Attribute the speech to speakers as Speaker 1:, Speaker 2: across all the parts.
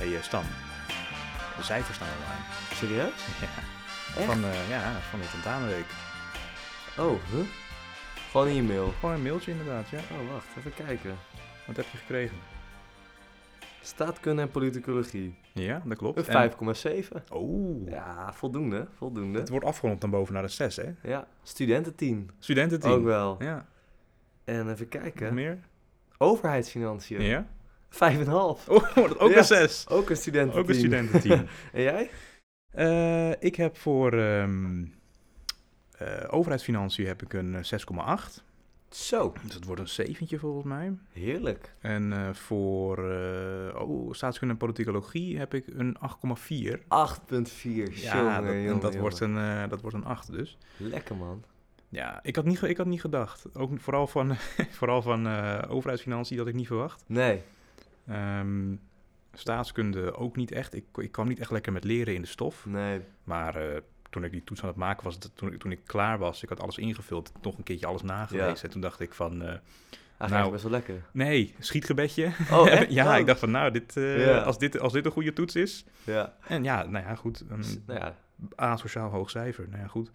Speaker 1: eh, Stan. De cijfers staan online.
Speaker 2: Serieus?
Speaker 1: Ja.
Speaker 2: Echt?
Speaker 1: Van, eh, ja, van de tentamenweek.
Speaker 2: Oh, huh? Gewoon een e-mail.
Speaker 1: Gewoon een mailtje inderdaad, ja.
Speaker 2: Oh, wacht, even kijken.
Speaker 1: Wat heb je gekregen?
Speaker 2: Staatkunde en politicologie.
Speaker 1: Ja, dat klopt. En-
Speaker 2: Een 5,7.
Speaker 1: Oh.
Speaker 2: Ja, voldoende, voldoende.
Speaker 1: Het wordt afgerond dan boven naar de 6, hè?
Speaker 2: Ja, studententeam.
Speaker 1: Studententeam.
Speaker 2: Ook wel.
Speaker 1: Ja,
Speaker 2: En even
Speaker 1: nog
Speaker 2: kijken.
Speaker 1: meer?
Speaker 2: Overheidsfinanciën.
Speaker 1: Ja?
Speaker 2: 5,5.
Speaker 1: Oh, wordt het ook
Speaker 2: Ja.
Speaker 1: een 6.
Speaker 2: Ook een studententeam.
Speaker 1: Ook een studententeam.
Speaker 2: En jij?
Speaker 1: Eh, ik heb voor ehm, eh, overheidsfinanciën heb ik een eh, 6,8.
Speaker 2: Zo,
Speaker 1: Dus dat wordt een zeventje volgens mij.
Speaker 2: heerlijk.
Speaker 1: En eh, voor eh, oh, staatskunde en politicologie heb ik een 8,4.
Speaker 2: 8,4.
Speaker 1: Ja, dat,
Speaker 2: jongen,
Speaker 1: en
Speaker 2: jongen,
Speaker 1: dat,
Speaker 2: jongen.
Speaker 1: wordt een, eh, dat wordt een 8 dus.
Speaker 2: Lekker man.
Speaker 1: Ja, ik had niet, ge- ik had niet gedacht. Ook vooral van, vooral van eh, overheidsfinanciën had ik niet verwacht.
Speaker 2: Nee,
Speaker 1: Ehm, staatskunde ook niet echt. Ik, ik kwam niet echt lekker met leren in de stof.
Speaker 2: nee.
Speaker 1: Maar eh, toen ik die toets aan het maken was, dat- toen, ik- toen ik klaar was, ik had alles ingevuld, nog een keertje alles nagelezen.
Speaker 2: Ja.
Speaker 1: En toen dacht ik van, eh,
Speaker 2: Hij
Speaker 1: Nou.
Speaker 2: gaat best wel lekker.
Speaker 1: nee, schietgebedje.
Speaker 2: Oh, echt?
Speaker 1: ja,
Speaker 2: Oh.
Speaker 1: ik dacht van, nou, dit, eh,
Speaker 2: Ja.
Speaker 1: als, dit, als dit een goede toets is.
Speaker 2: Ja.
Speaker 1: En ja, nou ja, goed.
Speaker 2: S-
Speaker 1: Een
Speaker 2: Nou ja.
Speaker 1: asociaal hoog cijfer. Nou ja, goed.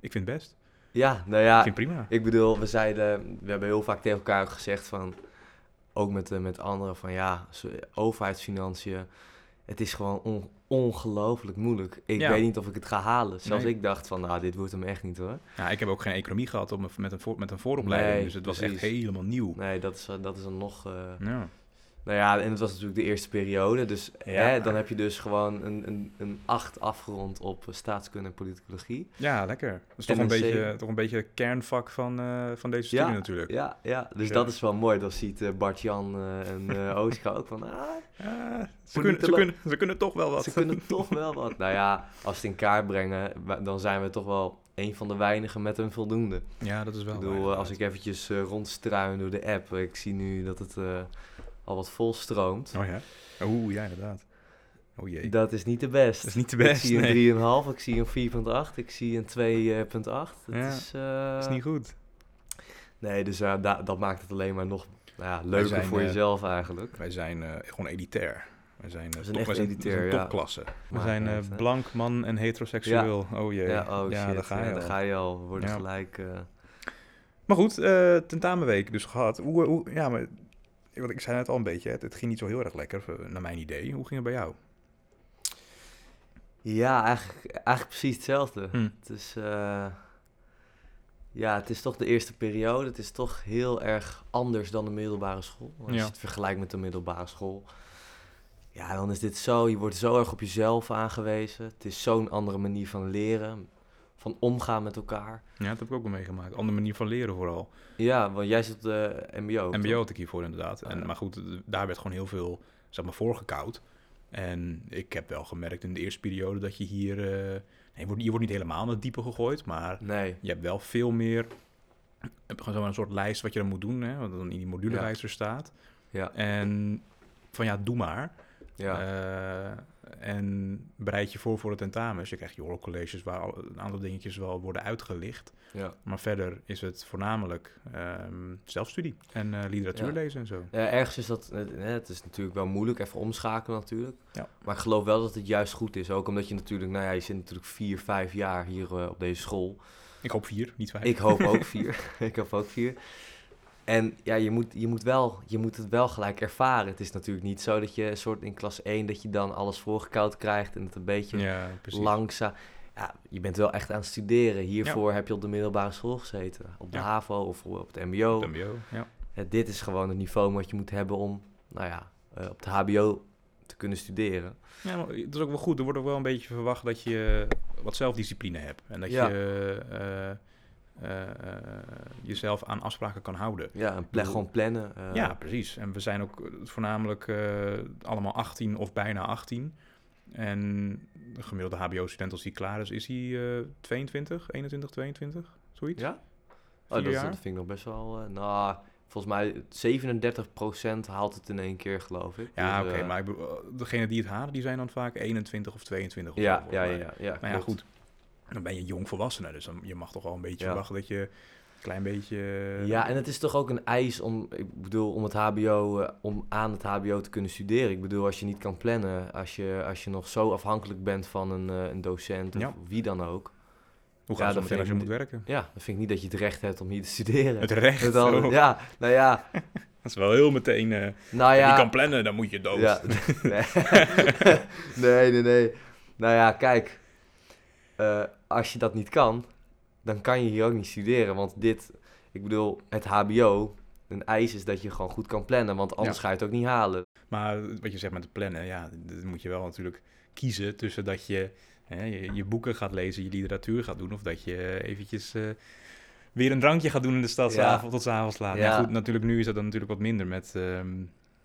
Speaker 1: Ik vind het best.
Speaker 2: ja, nou
Speaker 1: Ik
Speaker 2: ja.
Speaker 1: vind het prima.
Speaker 2: Ik bedoel, we zeiden, we hebben heel vaak tegen elkaar gezegd van, ook met, eh, met anderen, van ja, zo- eh, overheidsfinanciën, het is gewoon on- ongelooflijk moeilijk. Ik
Speaker 1: Ja.
Speaker 2: weet niet of ik het ga halen. Zelfs
Speaker 1: Nee.
Speaker 2: ik dacht van, nou, dit wordt hem echt niet hoor.
Speaker 1: Ja, ik heb ook geen economie gehad op een, met, een voor, met een vooropleiding.
Speaker 2: Nee,
Speaker 1: dus het was
Speaker 2: precies.
Speaker 1: echt helemaal nieuw.
Speaker 2: Nee, dat is, eh, dat is dan nog... eh,
Speaker 1: Ja.
Speaker 2: Nou ja, en het was natuurlijk de eerste periode, dus hè,
Speaker 1: Ja.
Speaker 2: dan heb je dus gewoon een, een, een acht afgerond op eh, staatskunde en politicologie.
Speaker 1: Ja, lekker. Dat is toch een,
Speaker 2: NRC.
Speaker 1: beetje, toch een beetje het kernvak van, eh, van deze studie natuurlijk.
Speaker 2: Ja, ja, dus
Speaker 1: Ja.
Speaker 2: dat is wel mooi. Dan ziet eh, Bart-Jan eh, en eh Ooska ook van, ah,
Speaker 1: Ah, ze,
Speaker 2: Politieke
Speaker 1: kunnen, ze,
Speaker 2: la-
Speaker 1: kunnen, ze kunnen toch wel wat.
Speaker 2: Ze kunnen toch wel wat. Nou ja, als ze het in kaart brengen, wa- dan zijn we toch wel een van de weinigen met een voldoende.
Speaker 1: Ja, dat is wel.
Speaker 2: ik
Speaker 1: waar,
Speaker 2: bedoel, eh, als ik
Speaker 1: inderdaad.
Speaker 2: eventjes eh, rondstruin door de app, eh, ik zie nu dat het eh, al wat volstroomt.
Speaker 1: Oh ja. Oeh, ja, inderdaad. Oh jee.
Speaker 2: Dat is niet de best.
Speaker 1: Dat is niet de best,
Speaker 2: Ik zie
Speaker 1: nee.
Speaker 2: een 3,5, ik zie een 4,8, ik zie een 2,8. Dat
Speaker 1: Ja,
Speaker 2: is, eh,
Speaker 1: dat is niet goed.
Speaker 2: Nee, dus eh, da- dat maakt het alleen maar nog nou ja,
Speaker 1: Wij
Speaker 2: leuker
Speaker 1: zijn,
Speaker 2: voor
Speaker 1: eh,
Speaker 2: jezelf eigenlijk.
Speaker 1: Wij zijn eh, gewoon elitair. Wij zijn, eh,
Speaker 2: We zijn
Speaker 1: top-
Speaker 2: echt
Speaker 1: wij zijn- we
Speaker 2: elitair,
Speaker 1: zijn
Speaker 2: ja.
Speaker 1: topklasse. We
Speaker 2: Maar
Speaker 1: zijn eh,
Speaker 2: echt, hè.
Speaker 1: blank, man en heteroseksueel. Oh jee.
Speaker 2: Ja, oh shit.
Speaker 1: daar ga je
Speaker 2: ja,
Speaker 1: al.
Speaker 2: daar ga je al. We worden
Speaker 1: Ja.
Speaker 2: gelijk... eh,
Speaker 1: Maar goed, eh, tentamenweek dus gehad. Hoe, hoe, ja, maar want ik zei het al een beetje, het, het ging niet zo heel erg lekker, eh, naar mijn idee. Hoe ging het bij jou?
Speaker 2: Ja, eigenlijk, eigenlijk precies hetzelfde.
Speaker 1: Hm.
Speaker 2: Het is, eh, ja, het is toch de eerste periode. Het is toch heel erg anders dan de middelbare school. Als
Speaker 1: Ja.
Speaker 2: je het vergelijkt met de middelbare school. Ja, dan is dit zo. Je wordt zo erg op jezelf aangewezen. Het is zo'n andere manier van leren. Van omgaan met elkaar.
Speaker 1: Ja, dat heb ik ook wel meegemaakt. Andere manier van leren vooral.
Speaker 2: Ja, want jij zit op de mbo. toch?
Speaker 1: MBO had ik hiervoor inderdaad. En,
Speaker 2: Ah, ja.
Speaker 1: Maar goed, d- daar werd gewoon heel veel zeg maar, voorgekoud. En ik heb wel gemerkt in de eerste periode dat je hier... eh, nee, je, wordt, je wordt niet helemaal in het diepe gegooid, maar
Speaker 2: Nee.
Speaker 1: je hebt wel veel meer... Je hebt gewoon zo'n soort lijst wat je dan moet doen, hè, wat dan in die modulelijst er staat.
Speaker 2: Ja.
Speaker 1: En van ja, doe maar.
Speaker 2: Ja.
Speaker 1: Eh, en bereid je voor voor de tentamens. Je krijgt je horrorcolleges waar al een aantal dingetjes wel worden uitgelicht.
Speaker 2: ja.
Speaker 1: Maar verder is het voornamelijk ehm, zelfstudie en eh, literatuur
Speaker 2: Ja.
Speaker 1: lezen en zo.
Speaker 2: Ja, ergens is dat, eh, het is natuurlijk wel moeilijk, even omschakelen natuurlijk.
Speaker 1: Ja.
Speaker 2: Maar ik geloof wel dat het juist goed is. Ook omdat je natuurlijk, nou ja, je zit natuurlijk vier, vijf jaar hier eh, op deze school.
Speaker 1: Ik hoop vier, niet vijf.
Speaker 2: Ik hoop ook vier. ik hoop ook vier. En ja, je moet, je, moet wel, je moet het wel gelijk ervaren. Het is natuurlijk niet zo dat je een soort in klas 1 dat je dan alles voorgekoud krijgt en het een beetje
Speaker 1: ja, precies.
Speaker 2: langzaam. Ja, je bent wel echt aan het studeren. Hiervoor heb je op de middelbare school gezeten. Op de
Speaker 1: Ja.
Speaker 2: HAVO of op het MBO.
Speaker 1: Het MBO, ja.
Speaker 2: Ja, dit is gewoon het niveau wat je moet hebben om, nou ja, eh, op de HBO te kunnen studeren.
Speaker 1: ja, maar het is ook wel goed. Er wordt ook wel een beetje verwacht dat je wat zelfdiscipline hebt. En dat
Speaker 2: Ja.
Speaker 1: je eh, eh, eh, jezelf aan afspraken kan houden.
Speaker 2: Ja, en pla-
Speaker 1: bedoel-
Speaker 2: gewoon plannen. eh,
Speaker 1: Ja, precies. En we zijn ook eh, voornamelijk eh, allemaal 18 of bijna 18. En de gemiddelde HBO-student, als die klaar is, is hij eh 22, 21, 22, zoiets.
Speaker 2: Ja? Oh,
Speaker 1: Vier
Speaker 2: dat, is-
Speaker 1: jaar?
Speaker 2: dat vind ik nog best wel. eh, nou, volgens mij 37% haalt het in één keer, geloof ik.
Speaker 1: Ja,
Speaker 2: Dus,
Speaker 1: oké,
Speaker 2: eh,
Speaker 1: maar ik bedoel, eh, degenen die het halen, die zijn dan vaak 21 of 22. Of zo,
Speaker 2: Ja,
Speaker 1: volgens
Speaker 2: ja, ja,
Speaker 1: mij.
Speaker 2: ja, ja.
Speaker 1: Maar ja,
Speaker 2: klopt.
Speaker 1: goed. Dan ben je jong volwassene, dus dan, je mag toch wel een beetje
Speaker 2: Ja.
Speaker 1: verwachten dat je klein beetje... eh,
Speaker 2: Ja, en het is toch ook een eis om, ik bedoel, om, het HBO, eh, om aan het HBO te kunnen studeren. Ik bedoel, als je niet kan plannen, als je, als je nog zo afhankelijk bent van een, eh, een docent of
Speaker 1: Ja.
Speaker 2: wie dan ook.
Speaker 1: Hoe
Speaker 2: ja,
Speaker 1: gaat het
Speaker 2: dat
Speaker 1: meteen als je moet
Speaker 2: betekent-
Speaker 1: werken?
Speaker 2: Ja, dan vind ik niet dat je het recht hebt om hier te studeren.
Speaker 1: Het recht.
Speaker 2: Met alle-
Speaker 1: oh,
Speaker 2: ja, nou ja,
Speaker 1: Dat is wel heel meteen... eh,
Speaker 2: nou ja.
Speaker 1: Je kan plannen, dan moet je dood.
Speaker 2: Ja, nee. nee, nee, nee. Nou ja, kijk. eh, als je dat niet kan, dan kan je hier ook niet studeren. Want dit, ik bedoel, het HBO, een eis is dat je gewoon goed kan plannen. Want anders
Speaker 1: Ja.
Speaker 2: ga je het ook niet halen.
Speaker 1: Maar wat je zegt met het plannen, ja, dat moet je wel natuurlijk kiezen tussen dat je hè, je, je boeken gaat lezen, je literatuur gaat doen, of dat je eventjes eh, weer een drankje gaat doen in de stad
Speaker 2: Ja.
Speaker 1: s'avonds tot s'avonds laat. Ja.
Speaker 2: Ja.
Speaker 1: goed, natuurlijk nu is dat dan natuurlijk wat minder met, ehm,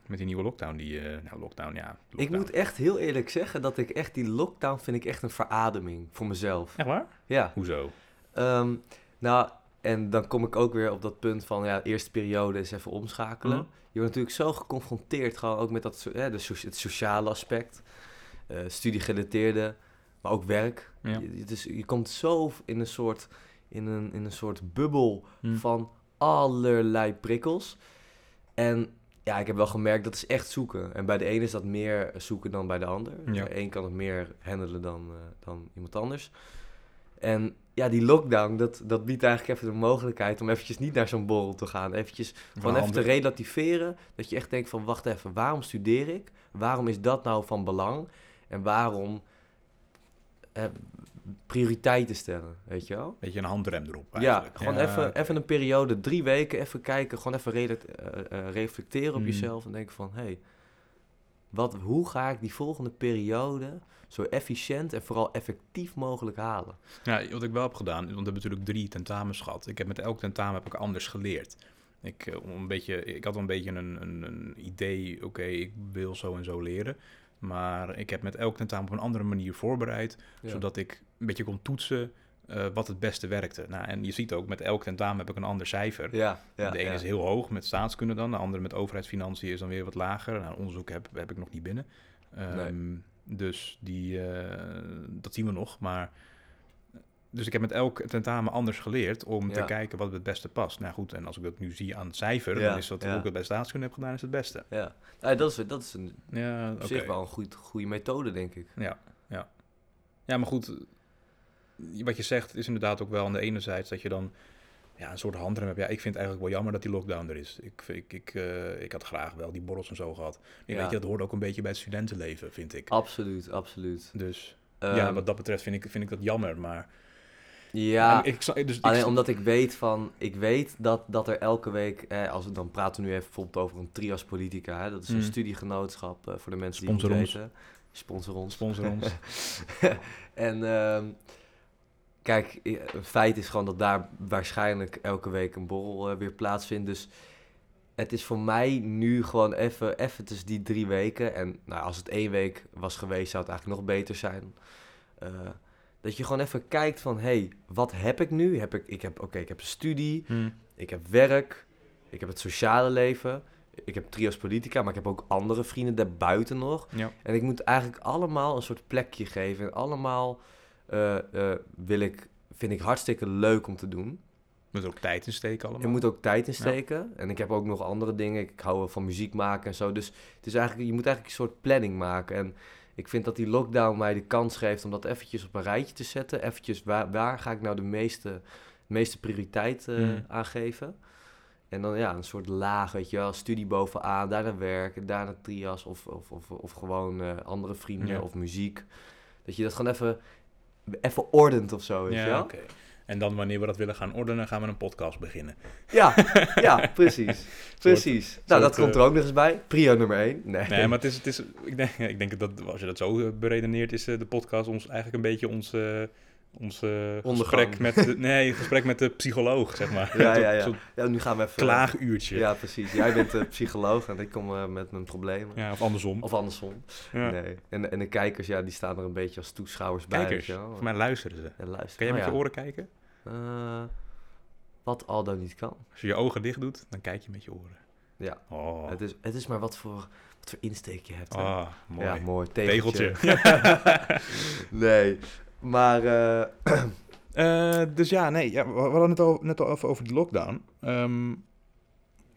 Speaker 1: met die nieuwe lockdown. Die, eh, nou, lockdown, ja. Lockdown.
Speaker 2: Ik moet echt heel eerlijk zeggen dat ik echt die lockdown vind ik echt een verademing voor mezelf.
Speaker 1: Echt waar?
Speaker 2: Ja.
Speaker 1: Hoezo?
Speaker 2: Ehm, nou, en dan kom ik ook weer op dat punt van, ja, eerste periode is even omschakelen.
Speaker 1: Mhm.
Speaker 2: Je wordt natuurlijk zo geconfronteerd, gewoon ook met dat, so- hè, de so- het sociale aspect, eh studiegerelateerde, maar ook werk.
Speaker 1: Ja.
Speaker 2: Je, je- dus je komt zo in een soort, in een, in een soort bubbel
Speaker 1: Hm.
Speaker 2: van allerlei prikkels. En ja, ik heb wel gemerkt, dat is echt zoeken. En bij de ene is dat meer zoeken dan bij de ander.
Speaker 1: Ja.
Speaker 2: De een kan het meer handelen dan, eh, dan iemand anders. En ja, die lockdown, dat, dat biedt eigenlijk even de mogelijkheid om eventjes niet naar zo'n borrel te gaan. Eventjes gewoon even te
Speaker 1: ander-
Speaker 2: relativeren. Dat je echt denkt van, wacht even, waarom studeer ik? Waarom is dat nou van belang? En waarom eh, prioriteiten stellen, weet je wel?
Speaker 1: Beetje een handrem erop.
Speaker 2: Ja,
Speaker 1: eigenlijk.
Speaker 2: gewoon
Speaker 1: Ja,
Speaker 2: even,
Speaker 1: oké.
Speaker 2: even een periode, drie weken, even kijken, gewoon even rela- eh, eh, reflecteren op
Speaker 1: Mm.
Speaker 2: jezelf en denken van, hé, hey, wat, hoe ga ik die volgende periode zo efficiënt en vooral effectief mogelijk halen?
Speaker 1: Ja, wat ik wel heb gedaan, want we hebben natuurlijk drie tentamens gehad. Ik heb met elk tentamen heb ik anders geleerd. Ik, eh, om een beetje, ik had wel een beetje een, een, een idee, oké, ik wil zo en zo leren. Maar ik heb met elk tentamen op een andere manier voorbereid,
Speaker 2: Ja.
Speaker 1: zodat ik een beetje kon toetsen eh, wat het beste werkte. Nou, en je ziet ook, met elk tentamen heb ik een ander cijfer.
Speaker 2: Ja, ja,
Speaker 1: de ene
Speaker 2: ja.
Speaker 1: is heel hoog met staatskunde dan, de andere met overheidsfinanciën is dan weer wat lager. Nou, onderzoek heb, heb ik nog niet binnen. Ehm, Dus die, eh, dat zien we nog. Maar, dus ik heb met elk tentamen anders geleerd om te
Speaker 2: Ja.
Speaker 1: kijken wat het beste past. Nou goed, en als ik dat nu zie aan het cijfer,
Speaker 2: Ja,
Speaker 1: dan is dat
Speaker 2: ja.
Speaker 1: hoe ik het bij staatskunde heb gedaan, is het beste.
Speaker 2: Ja, Nou, dat is, dat is een,
Speaker 1: Ja,
Speaker 2: op
Speaker 1: oké.
Speaker 2: zich wel een goed, goede methode, denk ik.
Speaker 1: Ja, maar goed, eh, wat je zegt is inderdaad ook wel aan de ene zijde dat je dan ja, een soort handrem hebt. Ja, ik vind het eigenlijk wel jammer dat die lockdown er is. Ik, ik, ik, eh, ik had graag wel die borrels en zo gehad. Ik
Speaker 2: Ja.
Speaker 1: weet je, dat hoort ook een beetje bij het studentenleven, vind ik.
Speaker 2: Absoluut, absoluut.
Speaker 1: Dus ja,
Speaker 2: Ehm,
Speaker 1: wat dat betreft vind ik, vind ik dat jammer, maar...
Speaker 2: ja,
Speaker 1: ik, ik, dus, ik-
Speaker 2: Alleen omdat ik weet van, ik weet dat, dat er elke week, eh, als we dan praten we nu even bijvoorbeeld over een trias politica, hè, dat is een
Speaker 1: Mm.
Speaker 2: studiegenootschap eh, voor de mensen
Speaker 1: Sponsor
Speaker 2: die het
Speaker 1: ons.
Speaker 2: niet weten. Sponsor ons.
Speaker 1: Sponsor ons.
Speaker 2: en ehm, kijk, i- een feit is gewoon dat daar waarschijnlijk elke week een borrel eh, weer plaatsvindt, dus het is voor mij nu gewoon even, even tussen die drie weken. En nou, als het één week was geweest, zou het eigenlijk nog beter zijn. Eh, dat je gewoon even kijkt van, hé, hey, wat heb ik nu? Heb ik, ik heb, oké, ik heb een studie.
Speaker 1: Hm.
Speaker 2: Ik heb werk, ik heb het sociale leven, ik heb trios politica, maar ik heb ook andere vrienden daarbuiten nog.
Speaker 1: Ja.
Speaker 2: En ik moet eigenlijk allemaal een soort plekje geven. En allemaal eh, eh, wil ik, vind ik hartstikke leuk om te doen.
Speaker 1: Moet er ook tijd in steken allemaal.
Speaker 2: Je moet ook tijd insteken. En ik heb ook nog andere dingen. Ik hou wel van muziek maken en zo. Dus het is eigenlijk, je moet eigenlijk een soort planning maken. En ik vind dat die lockdown mij de kans geeft om dat eventjes op een rijtje te zetten. Eventjes, waar, waar ga ik nou de meeste, meeste prioriteit eh,
Speaker 1: Hmm.
Speaker 2: aan geven? En dan ja, een soort laag, weet je wel. Studie bovenaan, daarna werk, daarna trias of, of, of, of gewoon eh, andere vrienden
Speaker 1: Ja.
Speaker 2: of muziek. Dat je dat gewoon even, even ordent of zo, weet je
Speaker 1: ja,
Speaker 2: wel.
Speaker 1: oké. En dan wanneer we dat willen gaan ordenen, gaan we een podcast beginnen.
Speaker 2: Ja, ja, precies. Precies. nou, dat
Speaker 1: soort,
Speaker 2: komt er ook nog eens bij. Prio nummer 1. Nee.
Speaker 1: Nee, maar het is, het is, ik, denk, ik denk dat als je dat zo eh, beredeneert, is eh, de podcast ons eigenlijk een beetje ons, eh, ons eh,
Speaker 2: Ondergang.
Speaker 1: gesprek, met de, nee, gesprek met de psycholoog, zeg maar.
Speaker 2: Ja,
Speaker 1: Een
Speaker 2: ja,
Speaker 1: soort-
Speaker 2: ja.
Speaker 1: soort
Speaker 2: ja, nu gaan we even...
Speaker 1: klaaguurtje. Ja.
Speaker 2: Ja, precies. Jij bent eh, psycholoog en ik kom eh, met mijn problemen.
Speaker 1: of andersom.
Speaker 2: Of andersom.
Speaker 1: Ja.
Speaker 2: Nee. En, en de kijkers, ja, die staan er een beetje als toeschouwers bij.
Speaker 1: Kijkers,
Speaker 2: weet je wel.
Speaker 1: voor mij luisteren ze.
Speaker 2: En luisteren.
Speaker 1: Kan jij met
Speaker 2: Oh,
Speaker 1: je
Speaker 2: ja.
Speaker 1: oren kijken?
Speaker 2: Eh, wat al dan niet kan.
Speaker 1: Als je je ogen dicht doet, dan kijk je met je oren.
Speaker 2: Ja.
Speaker 1: Oh,
Speaker 2: Het, eh, is, het is maar wat voor, wat voor insteek je hebt. hè.
Speaker 1: Ah, mooi.
Speaker 2: Ja, mooi. Tegeltje.
Speaker 1: Tegeltje. Ja.
Speaker 2: nee. Maar eh,
Speaker 1: Eh, dus ja, nee, ja, we we hadden het al, net al even over de lockdown. Ehm,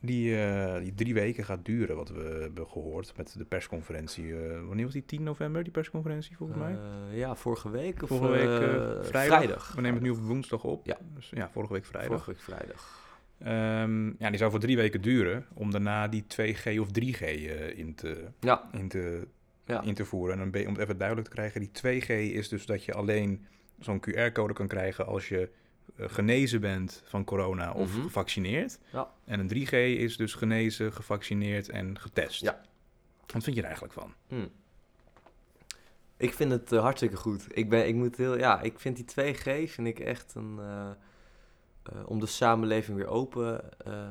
Speaker 1: die, eh, die drie weken gaat duren, wat we hebben gehoord met de persconferentie. eh, wanneer was die? 10 november, die persconferentie, volgens mij?
Speaker 2: Eh, ja, vorige week of
Speaker 1: Vorige week eh,
Speaker 2: eh,
Speaker 1: vrijdag.
Speaker 2: vrijdag.
Speaker 1: We nemen het nu op woensdag op.
Speaker 2: Ja.
Speaker 1: Dus, ja, vorige week vrijdag.
Speaker 2: Vorige week vrijdag.
Speaker 1: Ehm, ja, die zou voor drie weken duren om daarna die 2G of 3G eh, in, te,
Speaker 2: Ja.
Speaker 1: in, te,
Speaker 2: Ja.
Speaker 1: in te voeren. En dan ben je- om het even duidelijk te krijgen, die 2G is dus dat je alleen zo'n QR-code kan krijgen als je eh, genezen bent van corona of
Speaker 2: Mhm.
Speaker 1: gevaccineerd.
Speaker 2: Ja.
Speaker 1: En een 3G is dus genezen, gevaccineerd en getest.
Speaker 2: Ja.
Speaker 1: Wat vind je er eigenlijk van?
Speaker 2: Hm. Ik vind het eh, hartstikke goed. Ik, ben, ik, moet heel, ja, ik vind die 2G vind ik echt een, eh, eh, om de samenleving weer open eh,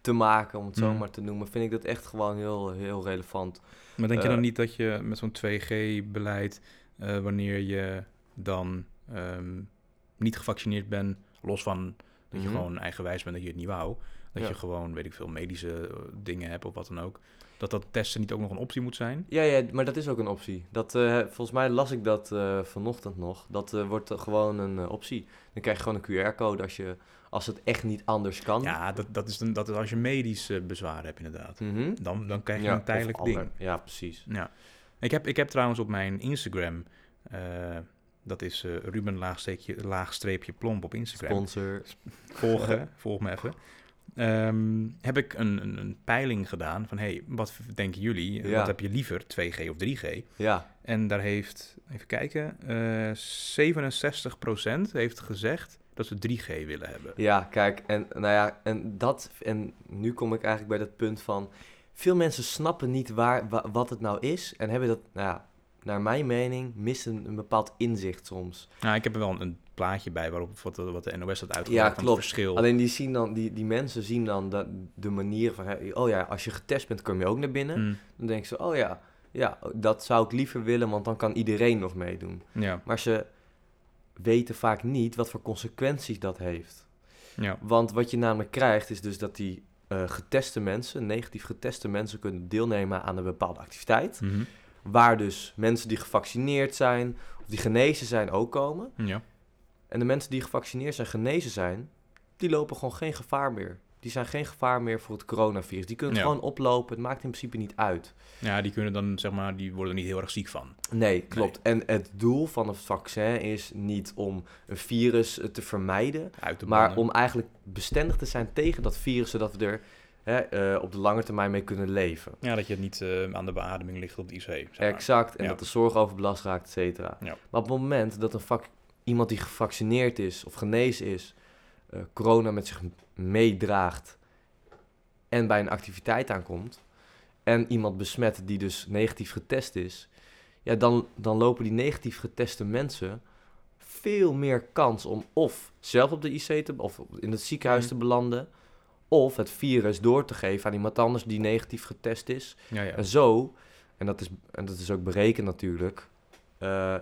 Speaker 2: te maken, om het zo
Speaker 1: Mm.
Speaker 2: maar te noemen, vind ik dat echt gewoon heel, heel relevant.
Speaker 1: Maar denk je
Speaker 2: Eh,
Speaker 1: dan niet dat je met zo'n 2G-beleid, eh, wanneer je dan ehm, niet gevaccineerd bent, los van dat je
Speaker 2: Mhm.
Speaker 1: gewoon eigenwijs bent dat je het niet wou, dat
Speaker 2: Ja.
Speaker 1: je gewoon, weet ik veel, medische eh, dingen hebt of wat dan ook, dat dat testen niet ook nog een optie moet zijn?
Speaker 2: Ja, ja, maar dat is ook een optie. Dat, eh, volgens mij las ik dat eh, vanochtend nog. Dat eh, wordt eh, gewoon een eh, optie. Dan krijg je gewoon een QR-code als, je, als het echt niet anders kan.
Speaker 1: Ja, dat, dat, is dan, dat is als je medische bezwaren hebt inderdaad.
Speaker 2: Mhm.
Speaker 1: Dan, dan krijg je
Speaker 2: Ja,
Speaker 1: een tijdelijk
Speaker 2: of
Speaker 1: ding.
Speaker 2: ander. Ja, precies.
Speaker 1: Ja. Ik heb, ik heb trouwens op mijn Instagram, eh, dat is eh, Ruben laagstreepje, laagstreepje plomp op Instagram.
Speaker 2: Sponsor.
Speaker 1: volgen, volg me even. Ehm, heb ik een, een, een peiling gedaan van, hey, wat v- denken jullie?
Speaker 2: Ja.
Speaker 1: Wat heb je liever, 2G of 3G?
Speaker 2: Ja.
Speaker 1: En daar heeft, even kijken, eh 67% heeft gezegd dat ze 3G willen hebben.
Speaker 2: Ja, kijk, en nou ja, en dat, en nu kom ik eigenlijk bij dat punt van, veel mensen snappen niet waar, wa- wat het nou is en hebben dat, nou ja, naar mijn mening, missen een, bepaald inzicht soms.
Speaker 1: Nou, ik heb er wel een, een plaatje bij waarop wat, de- wat de NOS had uitgelegd
Speaker 2: Ja,
Speaker 1: van
Speaker 2: klopt.
Speaker 1: het verschil.
Speaker 2: Alleen die, zien dan, die, die mensen zien dan de, de manier van, hè, oh ja, als je getest bent, kom je ook naar binnen.
Speaker 1: Mm,
Speaker 2: Dan denken ze, oh ja, ja, dat zou ik liever willen, want dan kan iedereen nog meedoen.
Speaker 1: ja,
Speaker 2: Maar ze weten vaak niet wat voor consequenties dat heeft.
Speaker 1: ja.
Speaker 2: Want wat je namelijk krijgt is dus dat die eh, geteste mensen, negatief geteste mensen, kunnen deelnemen aan een bepaalde activiteit.
Speaker 1: Mhm,
Speaker 2: Waar dus mensen die gevaccineerd zijn of die genezen zijn ook komen.
Speaker 1: ja.
Speaker 2: En de mensen die gevaccineerd zijn, genezen zijn, die lopen gewoon geen gevaar meer. Die zijn geen gevaar meer voor het coronavirus. Die kunnen het
Speaker 1: Ja.
Speaker 2: gewoon oplopen. Het maakt in principe niet uit.
Speaker 1: Ja, die kunnen dan, zeg maar, die worden er niet heel erg ziek van.
Speaker 2: Nee, klopt. En het doel van het vaccin is niet om een virus eh, te vermijden.
Speaker 1: Uit de
Speaker 2: Maar
Speaker 1: bannen.
Speaker 2: om eigenlijk bestendig te zijn tegen dat virus, zodat we er hè, eh, op de lange termijn mee kunnen leven.
Speaker 1: Ja, dat je het niet eh, aan de beademing ligt op het IC. zeg maar.
Speaker 2: Exact, en
Speaker 1: Ja.
Speaker 2: dat de zorg overbelast raakt, et cetera.
Speaker 1: Ja.
Speaker 2: Maar op het moment dat een vac- iemand die gevaccineerd is of genezen is, eh, corona met zich meedraagt en bij een activiteit aankomt, en iemand besmet die dus negatief getest is, ja, dan, dan lopen die negatief geteste mensen veel meer kans om of zelf op de IC te, of in het ziekenhuis
Speaker 1: Mhm.
Speaker 2: te belanden, of het virus door te geven aan iemand anders die negatief getest is,
Speaker 1: Ja, ja.
Speaker 2: en zo, en dat is, en dat is ook berekend natuurlijk, eh,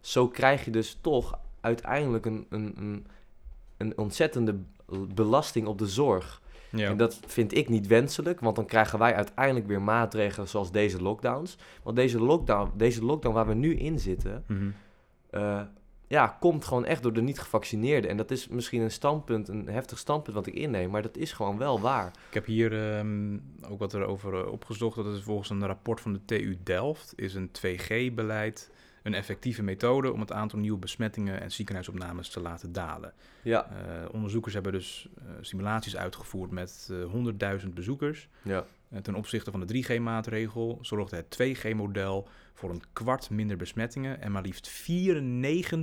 Speaker 2: zo krijg je dus toch uiteindelijk een, een, een, een ontzettende belasting op de zorg.
Speaker 1: ja.
Speaker 2: En dat vind ik niet wenselijk, want dan krijgen wij uiteindelijk weer maatregelen zoals deze lockdowns. Want deze lockdown, deze lockdown waar we nu in zitten,
Speaker 1: Mhm.
Speaker 2: eh, ja, komt gewoon echt door de niet-gevaccineerden. En dat is misschien een standpunt, een heftig standpunt wat ik inneem, maar dat is gewoon wel waar.
Speaker 1: Ik heb hier ehm, ook wat erover eh, opgezocht. Dat is volgens een rapport van de TU Delft is een 2G-beleid een effectieve methode om het aantal nieuwe besmettingen en ziekenhuisopnames te laten dalen.
Speaker 2: Ja,
Speaker 1: Eh, onderzoekers hebben dus eh, simulaties uitgevoerd met eh 100.000 bezoekers.
Speaker 2: ja.
Speaker 1: Eh, ten opzichte van de 3G-maatregel zorgde het 2G-model voor een kwart minder besmettingen en maar liefst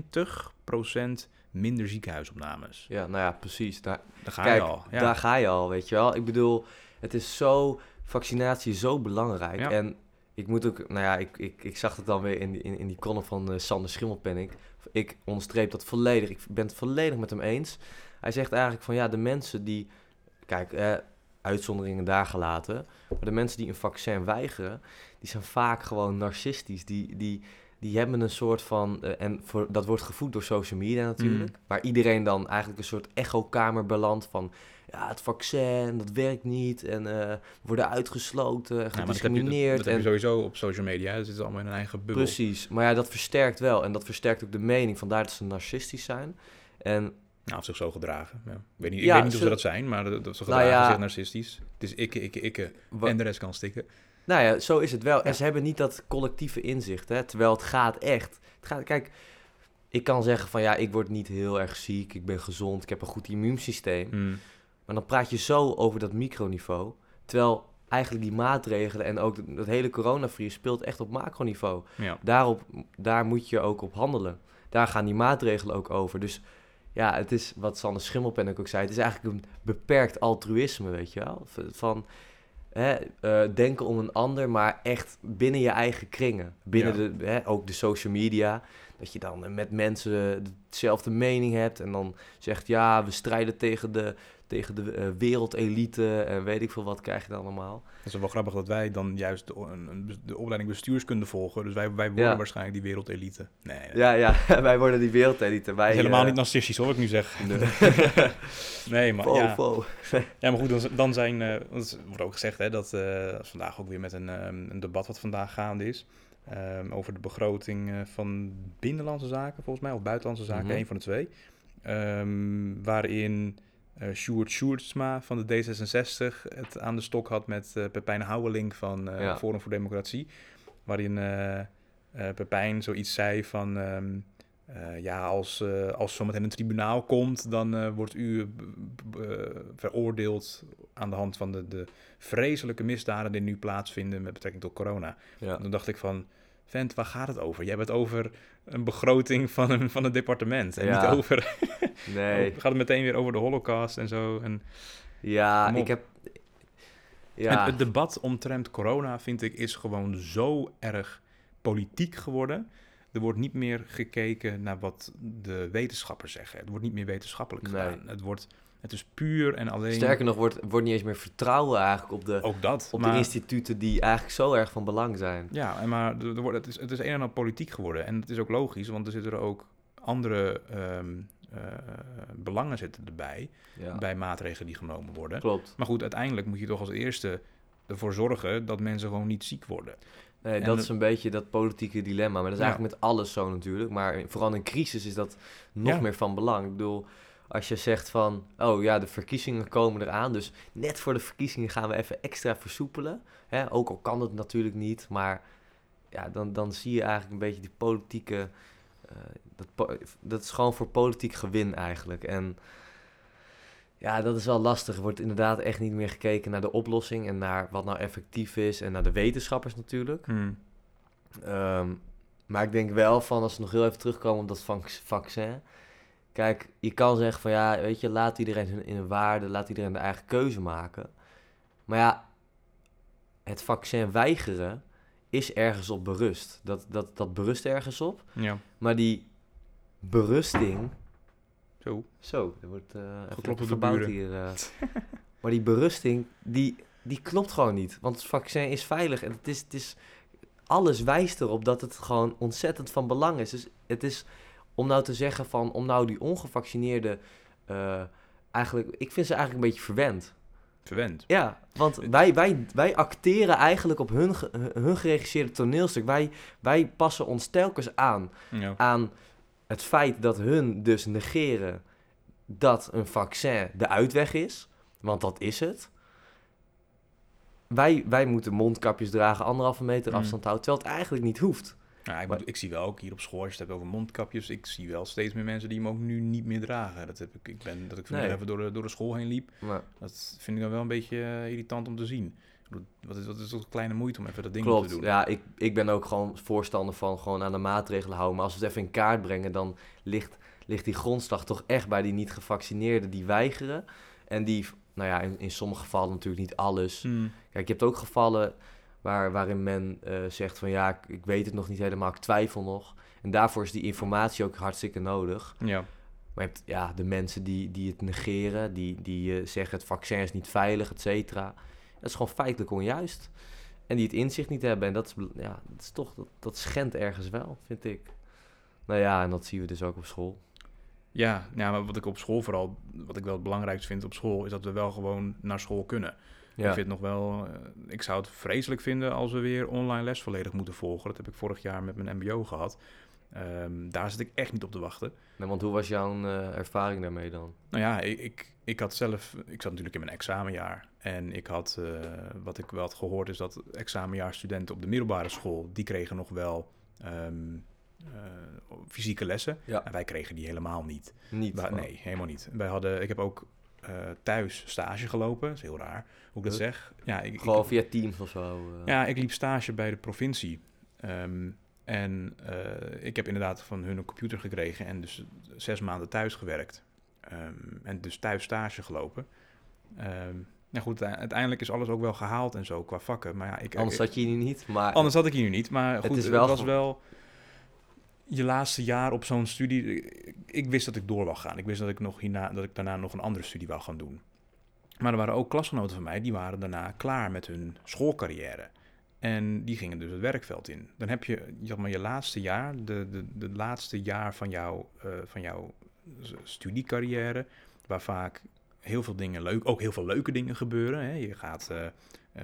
Speaker 1: 94% minder ziekenhuisopnames.
Speaker 2: ja nou ja, precies. Daar,
Speaker 1: Daar ga
Speaker 2: Kijk,
Speaker 1: je al. Ja.
Speaker 2: Daar ga je al, weet je wel. Ik bedoel, het is zo, vaccinatie is zo belangrijk.
Speaker 1: Ja.
Speaker 2: En ik moet ook, nou ja, ik, ik, ik zag het dan weer in, die- in, in die column van eh, Sander Schimmelpenninck. Ik onderstreep dat volledig. Ik ben het volledig met hem eens. Hij zegt eigenlijk van, ja, de mensen die, kijk, eh, uitzonderingen daar gelaten. Maar de mensen die een vaccin weigeren, die zijn vaak gewoon narcistisch. Die, die, die hebben een soort van, eh, en voor,
Speaker 1: Mm.
Speaker 2: dat wordt gevoed door social media natuurlijk. Waar iedereen dan eigenlijk een soort echokamer belandt van... ja, het vaccin, dat werkt niet. En eh, worden uitgesloten, en
Speaker 1: Ja, maar dat heb, je, dat, dat
Speaker 2: gediscrimineerd.
Speaker 1: heb je
Speaker 2: en-
Speaker 1: sowieso op social media. Het zit allemaal in een eigen bubbel.
Speaker 2: Precies, maar ja, dat versterkt wel. En dat versterkt ook de mening, vandaar dat ze narcistisch zijn. En
Speaker 1: Nou, of zich zo gedragen. Ja. Ik weet niet, ik
Speaker 2: Ja,
Speaker 1: weet niet of
Speaker 2: ze- Nou
Speaker 1: ze dat zijn, maar dat, dat ze gedragen
Speaker 2: ja.
Speaker 1: zich narcistisch. Het is ikke, ikke, ikke.
Speaker 2: wa-
Speaker 1: En de rest kan stikken.
Speaker 2: Nou ja, zo is het wel.
Speaker 1: Ja.
Speaker 2: En ze hebben niet dat collectieve inzicht, hè? terwijl het gaat echt. Het gaat, kijk, ik kan zeggen van ja, ik word niet heel erg ziek, ik ben gezond, ik heb een goed immuunsysteem.
Speaker 1: Hmm.
Speaker 2: Maar dan praat je zo over dat microniveau, terwijl eigenlijk die maatregelen en ook dat- dat hele coronavries speelt echt op macroniveau.
Speaker 1: Ja.
Speaker 2: Daarop, daar moet je ook op handelen. Daar gaan die maatregelen ook over. Dus ja, het is wat Sander Schimmelpenninck ook zei. Het is eigenlijk een beperkt altruïsme, weet je wel. V- Van hè, eh, denken om een ander, maar echt binnen je eigen kringen. Binnen de, hè, ook de social media. Dat je dan met mensen dezelfde mening hebt. En dan zegt, ja, we strijden tegen de, tegen de eh, wereldelite. En weet ik veel wat krijg je dan allemaal.
Speaker 1: Dat is wel grappig dat wij dan juist de, een- een- de opleiding bestuurskunde volgen. Dus wij, wij worden
Speaker 2: Ja.
Speaker 1: waarschijnlijk die wereldelite. Nee, nee.
Speaker 2: Ja, ja, wij worden die wereldelite. Wij,
Speaker 1: Dat is helemaal
Speaker 2: eh,
Speaker 1: niet narcistisch, hoor, wat ik nu zeg.
Speaker 2: Nee.
Speaker 1: nee, maar
Speaker 2: wow,
Speaker 1: ja.
Speaker 2: wow.
Speaker 1: Ja, maar goed, dan, dan zijn. eh, want er wordt ook gezegd hè, dat. eh, dat is vandaag ook weer met een, ehm, een debat wat vandaag gaande is. ehm, over de begroting eh, van Binnenlandse Zaken, volgens mij. Of Buitenlandse Zaken,
Speaker 2: Mhm.
Speaker 1: één van de twee. Ehm, waarin eh Sjoerd Sjoerdsma van de D66 het aan de stok had met eh, Pepijn Houweling van eh,
Speaker 2: Ja.
Speaker 1: Forum voor Democratie. Waarin eh, eh, Pepijn zoiets zei van. ehm, eh, ja, als, eh als zometeen een tribunaal komt, dan eh, wordt u eh, b- b- eh, veroordeeld aan de hand van de, de vreselijke misdaden die nu plaatsvinden met betrekking tot corona.
Speaker 2: Ja.
Speaker 1: Toen dacht ik van, vent, waar gaat het over? Jij hebt het over een begroting van een, van een departement en
Speaker 2: Ja.
Speaker 1: niet over...
Speaker 2: Nee.
Speaker 1: gaat het meteen weer over de holocaust en zo. En,
Speaker 2: Ja,
Speaker 1: Kom op.
Speaker 2: ik heb. eh, Ja,
Speaker 1: Het, het debat omtrent corona, vind ik, is gewoon zo erg politiek geworden. Er wordt niet meer gekeken naar wat de wetenschappers zeggen. Het wordt niet meer wetenschappelijk
Speaker 2: Nee.
Speaker 1: gedaan. Het, wordt, het is puur en alleen...
Speaker 2: sterker nog, wordt, wordt niet eens meer vertrouwen eigenlijk op de,
Speaker 1: Ook dat.
Speaker 2: op
Speaker 1: Oh, maar,
Speaker 2: de instituten die eigenlijk zo erg van belang zijn.
Speaker 1: Ja, en maar er- er wordt, het, is, het is een en ander politiek geworden. En het is ook logisch, want er zitten er ook andere ehm, eh, belangen zitten erbij...
Speaker 2: Ja,
Speaker 1: bij maatregelen die genomen worden.
Speaker 2: klopt.
Speaker 1: Maar goed, uiteindelijk moet je toch als eerste ervoor zorgen... dat mensen gewoon niet ziek worden.
Speaker 2: Nee,
Speaker 1: En
Speaker 2: dat
Speaker 1: de-
Speaker 2: is een beetje dat politieke dilemma. Maar dat is
Speaker 1: Ja.
Speaker 2: eigenlijk met alles zo natuurlijk. Maar in- vooral in crisis is dat nog
Speaker 1: Ja.
Speaker 2: meer van belang. Ik bedoel, als je zegt van, oh ja, de verkiezingen komen eraan. Dus net voor de verkiezingen gaan we even extra versoepelen. Hè? Ook al kan dat natuurlijk niet. Maar ja, dan, dan zie je eigenlijk een beetje die politieke... eh, dat, po- dat is gewoon voor politiek gewin eigenlijk. En ja, dat is wel lastig. Er wordt inderdaad echt niet meer gekeken naar de oplossing... en naar wat nou effectief is en naar de wetenschappers natuurlijk.
Speaker 1: Hmm.
Speaker 2: Ehm, maar ik denk wel van, als we nog heel even terugkomen op dat vac- vaccin. Kijk, je kan zeggen van ja, weet je, laat iedereen hun- in hun waarde, laat iedereen de eigen keuze maken. Maar ja, het vaccin weigeren is ergens op berust. Dat, dat, dat berust ergens op.
Speaker 1: Ja,
Speaker 2: Maar die berusting.
Speaker 1: zo.
Speaker 2: Zo, er wordt eh even
Speaker 1: Geklopt
Speaker 2: lekker
Speaker 1: op de
Speaker 2: verbouwd
Speaker 1: buren.
Speaker 2: hier. eh. maar die berusting, die, die klopt gewoon niet. Want het vaccin is veilig en het is, het is, alles wijst erop dat het gewoon ontzettend van belang is. Dus het is om nou te zeggen van, om nou die ongevaccineerden, eh, eigenlijk, ik vind ze eigenlijk een beetje verwend.
Speaker 1: Verwend.
Speaker 2: Ja, want
Speaker 1: Eh,
Speaker 2: wij, wij, wij acteren eigenlijk op hun, ge- hun geregisseerde toneelstuk. Wij, wij passen ons telkens aan
Speaker 1: Ja.
Speaker 2: aan het feit dat hun dus negeren dat een vaccin de uitweg is. Want dat is het. Wij, wij moeten mondkapjes dragen, anderhalve meter
Speaker 1: Mm.
Speaker 2: afstand houden, terwijl het eigenlijk niet hoeft.
Speaker 1: Ja, Ah, ik,
Speaker 2: Maar-
Speaker 1: bedoel, ik zie wel ook hier op school, als je het hebt over mondkapjes, ik zie wel steeds meer mensen die hem ook nu niet meer dragen. Dat heb ik, ik ben, dat ik vanmiddag
Speaker 2: Nee.
Speaker 1: even door de, door de school heen liep, dat vind ik dan wel een beetje eh, irritant om te zien. Ik bedoel, Wat is, wat is toch een kleine moeite om even dat ding op
Speaker 2: Klopt,
Speaker 1: te doen?
Speaker 2: ja, ik, ik ben ook gewoon voorstander van gewoon aan de maatregelen houden. Maar als we het even in kaart brengen, dan ligt, ligt die grondslag toch echt bij die niet gevaccineerden die weigeren. En die, nou ja, in, in sommige gevallen natuurlijk niet alles,
Speaker 1: Hmm.
Speaker 2: Kijk, je hebt ook gevallen waar, waarin men eh, zegt van ja, ik, ik weet het nog niet helemaal, ik twijfel nog. En daarvoor is die informatie ook hartstikke nodig.
Speaker 1: Ja.
Speaker 2: Maar je hebt ja, de mensen die, die het negeren, die, die eh, zeggen het vaccin is niet veilig, et cetera. Dat is gewoon feitelijk onjuist. En die het inzicht niet hebben. En dat is, bel- ja, dat is toch, dat, dat schendt ergens wel, vind ik. Nou ja, en dat zien we dus ook op school.
Speaker 1: Ja, ja, maar wat ik op school vooral, wat ik wel het belangrijkste vind op school, is dat we wel gewoon naar school kunnen. Ik
Speaker 2: Ja,
Speaker 1: vind nog wel, eh, ik zou het vreselijk vinden als we weer online les volledig moeten volgen. Dat heb ik vorig jaar met mijn MBO gehad. Ehm, daar zit ik echt niet op te wachten.
Speaker 2: Nee, want hoe was jouw eh, ervaring daarmee dan?
Speaker 1: Nou ja, ik, ik, ik had zelf, ik zat natuurlijk in mijn examenjaar. En ik had, eh, wat ik wel had gehoord, is dat examenjaarstudenten op de middelbare school, die kregen nog wel ehm, eh, fysieke lessen.
Speaker 2: Ja.
Speaker 1: En wij kregen die helemaal niet.
Speaker 2: Niet.
Speaker 1: Wa-
Speaker 2: van-
Speaker 1: nee, helemaal niet. Wij hadden, ik heb ook eh, thuis stage gelopen. Dat is heel raar hoe ik dat
Speaker 2: Huh?
Speaker 1: zeg. Ja, ik, ik-
Speaker 2: Gewoon via Teams of zo. eh.
Speaker 1: ja, ik liep stage bij de provincie. Ehm, en eh, ik heb inderdaad van hun een computer gekregen en dus zes maanden thuis gewerkt. Ehm, en dus thuis stage gelopen. Ehm nou goed, u- uiteindelijk is alles ook wel gehaald en zo qua vakken. Maar ja, ik,
Speaker 2: Anders
Speaker 1: ik-
Speaker 2: zat je hier niet, maar
Speaker 1: anders had ik hier nu niet. Maar
Speaker 2: Het
Speaker 1: goed,
Speaker 2: is
Speaker 1: het,
Speaker 2: wel
Speaker 1: was
Speaker 2: gewoon-
Speaker 1: wel je laatste jaar op zo'n studie. Ik, ik wist dat ik door wou gaan. Ik wist dat ik, nog hierna, dat ik daarna nog een andere studie wou gaan doen. Maar er waren ook klasgenoten van mij die waren daarna klaar met hun schoolcarrière. En die gingen dus het werkveld in. Dan heb je zeg maar, je laatste jaar, de, de, de laatste jaar van jouw, eh, van jouw s- Dus, eh, studiecarrière, waar vaak heel veel dingen leuk, ook heel veel leuke dingen gebeuren. Hè. Je gaat eh,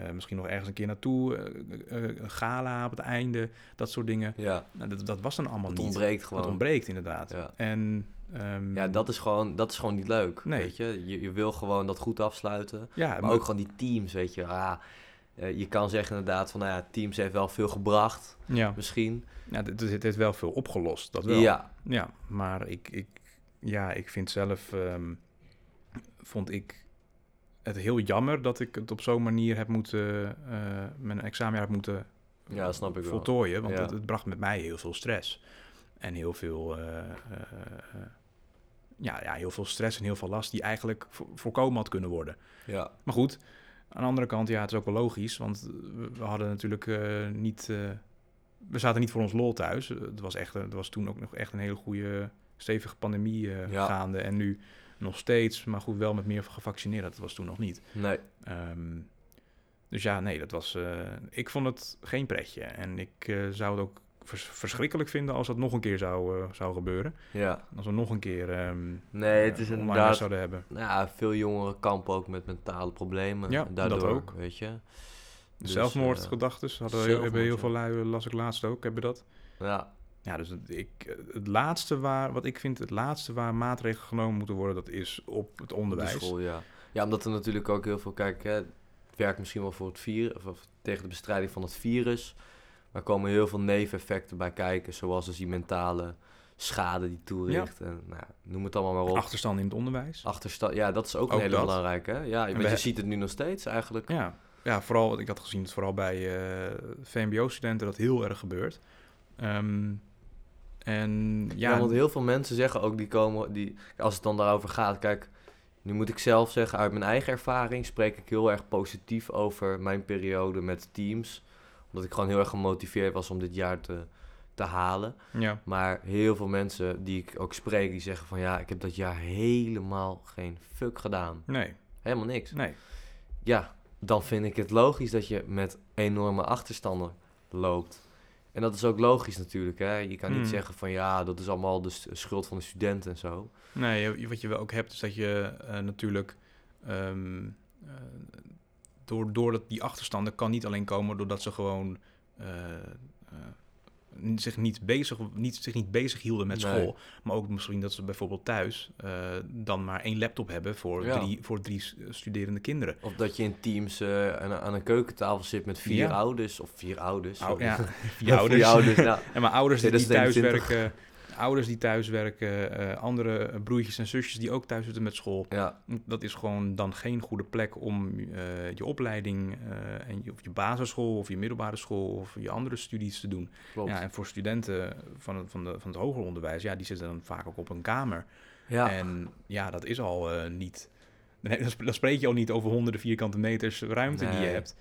Speaker 1: eh, misschien nog ergens een keer naartoe, eh, eh, een gala op het einde, dat soort dingen.
Speaker 2: ja,
Speaker 1: Nou, dat, dat was dan allemaal
Speaker 2: het
Speaker 1: niet.
Speaker 2: ontbreekt
Speaker 1: Dat
Speaker 2: gewoon.
Speaker 1: ontbreekt inderdaad.
Speaker 2: Ja.
Speaker 1: En ehm,
Speaker 2: Ja, dat is gewoon, dat is gewoon niet leuk.
Speaker 1: Nee.
Speaker 2: Weet je? Je, je wil gewoon dat goed afsluiten.
Speaker 1: ja,
Speaker 2: Maar ook gewoon die teams, weet je. Ah, eh, je kan zeggen inderdaad van, nou ja, teams heeft wel veel gebracht,
Speaker 1: ja,
Speaker 2: misschien.
Speaker 1: ja, het, het heeft wel veel opgelost, dat wel.
Speaker 2: Ja,
Speaker 1: Ja, maar ik, ik, ja, ik vind zelf, ehm, vond ik het heel jammer dat ik het op zo'n manier heb moeten, eh, mijn examenjaar heb moeten
Speaker 2: Ja, dat snap ik wel.
Speaker 1: voltooien. Want
Speaker 2: Ja.
Speaker 1: het, het bracht met mij heel veel stress. En heel veel, eh, eh, eh, ja, ja, heel veel stress en heel veel last die eigenlijk vo- voorkomen had kunnen worden.
Speaker 2: ja.
Speaker 1: Maar goed, aan de andere kant, ja, het is ook wel logisch, want we- we hadden natuurlijk eh, niet, eh, we zaten niet voor ons lol thuis. Eh, Het was echt, een- het was toen ook nog echt een hele goede, stevige pandemie eh,
Speaker 2: Ja.
Speaker 1: gaande en nu nog steeds, maar goed, wel met meer gevaccineerden. Dat was toen nog niet.
Speaker 2: Nee,
Speaker 1: Ehm, dus ja, nee, dat was, eh, ik vond het geen pretje en ik eh, zou het ook vers- verschrikkelijk vinden als dat nog een keer zou, eh, zou gebeuren.
Speaker 2: ja.
Speaker 1: Als we nog een keer ehm
Speaker 2: Nee, het
Speaker 1: eh,
Speaker 2: is
Speaker 1: online les
Speaker 2: inderdaad...
Speaker 1: zouden hebben.
Speaker 2: Nou, ja, veel jongeren kampen ook met mentale problemen.
Speaker 1: Ja,
Speaker 2: daardoor,
Speaker 1: dat ook.
Speaker 2: Weet je. Dus, eh,
Speaker 1: Zelfmoordgedachten hadden heel- hebben heel
Speaker 2: zelfmoord,
Speaker 1: veel lui, eh, las ik laatst ook, hebben dat.
Speaker 2: ja,
Speaker 1: Ja, dus het- ik, het laatste waar, wat ik vind, het laatste waar maatregelen genomen moeten worden, dat is op het
Speaker 2: op de
Speaker 1: onderwijs.
Speaker 2: school, ja. Ja, omdat er natuurlijk ook heel veel... Kijk, hè, het werkt misschien wel voor het virus... Of, of tegen de bestrijding van het virus. Maar er komen heel veel neveneffecten bij kijken. Zoals dus die mentale schade die toericht. En, nou, ja, noem het allemaal maar op.
Speaker 1: Achterstand in het onderwijs.
Speaker 2: Achterstand. Ja, dat is ook,
Speaker 1: Ook
Speaker 2: een hele
Speaker 1: dat.
Speaker 2: belangrijke. hè. Ja, want
Speaker 1: we-
Speaker 2: je ziet het nu nog steeds eigenlijk.
Speaker 1: Ja, ja vooral, wat ik had gezien, dat vooral bij eh, VMBO-studenten dat heel erg gebeurt. Ehm, en
Speaker 2: Ja,
Speaker 1: ja,
Speaker 2: want heel veel mensen zeggen ook, die komen, die, als het dan daarover gaat, kijk, nu moet ik zelf zeggen, uit mijn eigen ervaring spreek ik heel erg positief over mijn periode met teams. Omdat ik gewoon heel erg gemotiveerd was om dit jaar te, te halen.
Speaker 1: ja,
Speaker 2: Maar heel veel mensen die ik ook spreek, die zeggen van ja, ik heb dat jaar helemaal geen fuck gedaan.
Speaker 1: nee,
Speaker 2: Helemaal niks.
Speaker 1: nee.
Speaker 2: Ja, dan vind ik het logisch dat je met enorme achterstanden loopt. En dat is ook logisch natuurlijk. Hè? Je kan niet
Speaker 1: Mm.
Speaker 2: zeggen van ja, dat is allemaal de s- schuld van de student en zo.
Speaker 1: Nee, je- wat je wel ook hebt, is dat je eh, natuurlijk. ehm, eh, door, doordat die achterstanden kan niet alleen komen doordat ze gewoon. eh, eh, n- zich niet bezig, niet, zich niet bezig hielden met
Speaker 2: Nee.
Speaker 1: school. Maar ook misschien dat ze bijvoorbeeld thuis eh, dan maar één laptop hebben voor,
Speaker 2: Ja.
Speaker 1: drie, voor drie s- studerende kinderen.
Speaker 2: Of dat je in teams eh, aan, een- aan een keukentafel zit met vier
Speaker 1: Ja.
Speaker 2: ouders. Of vier ouders.
Speaker 1: Ou-
Speaker 2: sorry.
Speaker 1: ja,
Speaker 2: Vier
Speaker 1: vier ouders.
Speaker 2: ja.
Speaker 1: En maar ouders die, die thuis
Speaker 2: 2021.
Speaker 1: werken, ouders die thuis werken, eh, andere broertjes en zusjes die ook thuis zitten met school.
Speaker 2: ja,
Speaker 1: Dat is gewoon dan geen goede plek om eh, je opleiding eh, en je, of je basisschool of je middelbare school of je andere studies te doen.
Speaker 2: klopt.
Speaker 1: Ja,
Speaker 2: Ja,
Speaker 1: en voor studenten van, het- van, de, van het hoger onderwijs, ja, die zitten dan vaak ook op een kamer. En ja, dat is al eh, niet. Nee, dan sp- dan spreek je al niet over honderden vierkante meters ruimte die je
Speaker 2: Nee.
Speaker 1: hebt.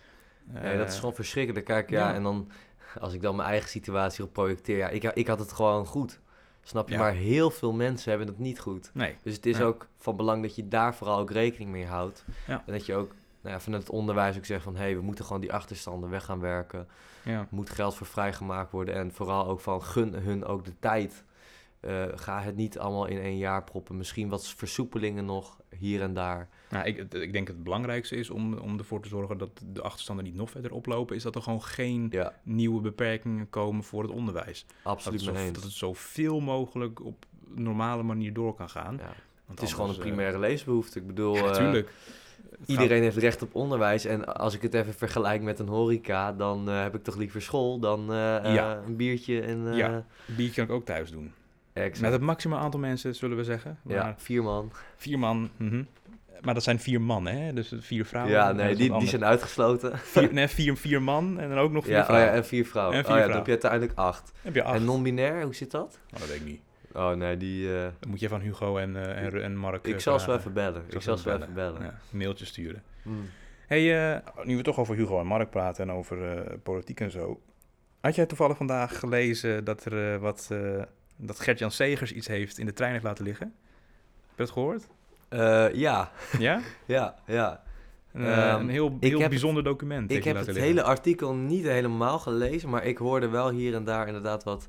Speaker 2: Nee, dat is
Speaker 1: Eh,
Speaker 2: gewoon verschrikkelijk. Kijk, ja,
Speaker 1: ja.
Speaker 2: en dan als ik dan mijn eigen situatie op projecteer. Ja, ik, ik had het gewoon goed. Snap je?
Speaker 1: Ja.
Speaker 2: Maar heel veel mensen hebben het niet goed.
Speaker 1: Nee,
Speaker 2: Dus het is
Speaker 1: Ja.
Speaker 2: ook van belang dat je daar vooral ook rekening mee houdt.
Speaker 1: Ja.
Speaker 2: En dat je ook nou ja, vanuit het onderwijs ook zegt van... hé, hey, we moeten gewoon die achterstanden weg gaan werken.
Speaker 1: ja.
Speaker 2: Er moet geld voor vrijgemaakt worden. En vooral ook van gun hun ook de tijd. eh, ga het niet allemaal in één jaar proppen. Misschien wat versoepelingen nog hier en daar.
Speaker 1: Nou, ik, ik denk het belangrijkste is om, om ervoor te zorgen dat de achterstanden niet nog verder oplopen, is dat er gewoon geen
Speaker 2: Ja,
Speaker 1: nieuwe beperkingen komen voor het onderwijs. Dat het,
Speaker 2: absoluut
Speaker 1: zo,
Speaker 2: mee eens.
Speaker 1: dat het zoveel mogelijk op normale manier door kan gaan.
Speaker 2: Ja.
Speaker 1: Want
Speaker 2: Het is gewoon een
Speaker 1: anders, eh,
Speaker 2: primaire leesbehoefte. Ik bedoel, eh,
Speaker 1: Natuurlijk.
Speaker 2: iedereen heeft recht op onderwijs. En als ik het even vergelijk met een horeca, dan eh, heb ik toch liever school dan eh, eh,
Speaker 1: Ja.
Speaker 2: een biertje en... eh,
Speaker 1: Ja. Die kan ik ook thuis doen.
Speaker 2: exact.
Speaker 1: Met het maximale aantal mensen, zullen we zeggen. Maar
Speaker 2: Ja, vier man.
Speaker 1: Vier man. mhm. Maar dat zijn vier man, hè? Dus vier vrouwen.
Speaker 2: ja,
Speaker 1: dat
Speaker 2: nee,
Speaker 1: is
Speaker 2: die,
Speaker 1: wat anders.
Speaker 2: die zijn uitgesloten.
Speaker 1: Vier, nee, vier, vier man en dan ook nog vier
Speaker 2: Ja, oh
Speaker 1: vrouwen.
Speaker 2: ja, en vier vrouwen.
Speaker 1: En vier
Speaker 2: oh ja, dan
Speaker 1: vrouwen.
Speaker 2: heb je uiteindelijk acht.
Speaker 1: Heb je acht.
Speaker 2: En non-binair, hoe zit dat?
Speaker 1: Oh, dat weet ik niet.
Speaker 2: Oh nee, die... eh,
Speaker 1: Dan moet je van Hugo en, eh, en, Ru- en Mark eh,
Speaker 2: ik zal ze wel
Speaker 1: vragen.
Speaker 2: even bellen. Ik zal ze wel even bellen.
Speaker 1: Ja, een mailtje sturen.
Speaker 2: Hmm.
Speaker 1: hey, eh, nu we toch over Hugo en Mark praten en over eh, politiek en zo. Had jij toevallig vandaag gelezen dat, er, eh, wat, eh, dat Gert-Jan Segers iets heeft in de trein heeft laten liggen? Heb je dat gehoord?
Speaker 2: Eh, ja,
Speaker 1: Ja?
Speaker 2: ja, ja.
Speaker 1: Een, eh,
Speaker 2: Ehm,
Speaker 1: een heel,
Speaker 2: ik
Speaker 1: heel
Speaker 2: heb
Speaker 1: bijzonder document.
Speaker 2: Ik
Speaker 1: heeft hij
Speaker 2: heb het
Speaker 1: laten
Speaker 2: hele
Speaker 1: liggen.
Speaker 2: artikel niet helemaal gelezen, maar ik hoorde wel hier en daar inderdaad wat,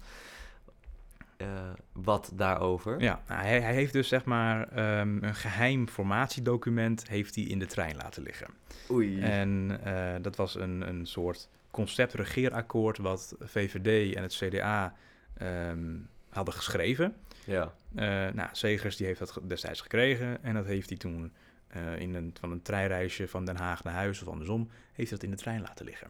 Speaker 2: eh, wat daarover.
Speaker 1: Ja, nou, hij, hij heeft dus zeg maar ehm, een geheim formatiedocument heeft hij in de trein laten liggen.
Speaker 2: Oei.
Speaker 1: En eh, dat was een, een soort concept-regeerakkoord wat VVD en het CDA ehm, hadden geschreven.
Speaker 2: ja.
Speaker 1: Eh, nou, Segers die heeft dat ge- destijds gekregen en dat heeft hij toen eh, in een, van een treinreisje van Den Haag naar huis of andersom, heeft hij dat in de trein laten liggen.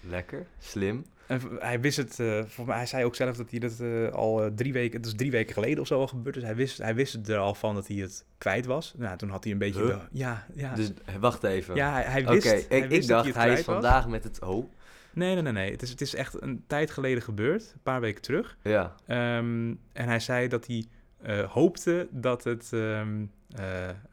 Speaker 2: Lekker, slim.
Speaker 1: En v- hij wist het, eh, volgens mij, hij zei ook zelf dat hij dat eh, al eh, drie weken, het is drie weken geleden of zo al gebeurd, dus hij wist, hij wist het er al van dat hij het kwijt was. Nou, toen had hij een beetje,
Speaker 2: Huh?
Speaker 1: de- ja, ja,
Speaker 2: Dus wacht even.
Speaker 1: ja, hij, hij
Speaker 2: Oké,
Speaker 1: wist,
Speaker 2: ik,
Speaker 1: hij
Speaker 2: ik
Speaker 1: wist dat
Speaker 2: dacht
Speaker 1: het
Speaker 2: hij is
Speaker 1: kwijt was.
Speaker 2: vandaag met het... Oh,
Speaker 1: Nee, nee, nee, nee. Het is, het is echt een tijd geleden gebeurd, een paar weken terug.
Speaker 2: ja.
Speaker 1: Ehm, en hij zei dat hij eh, hoopte dat het ehm, eh,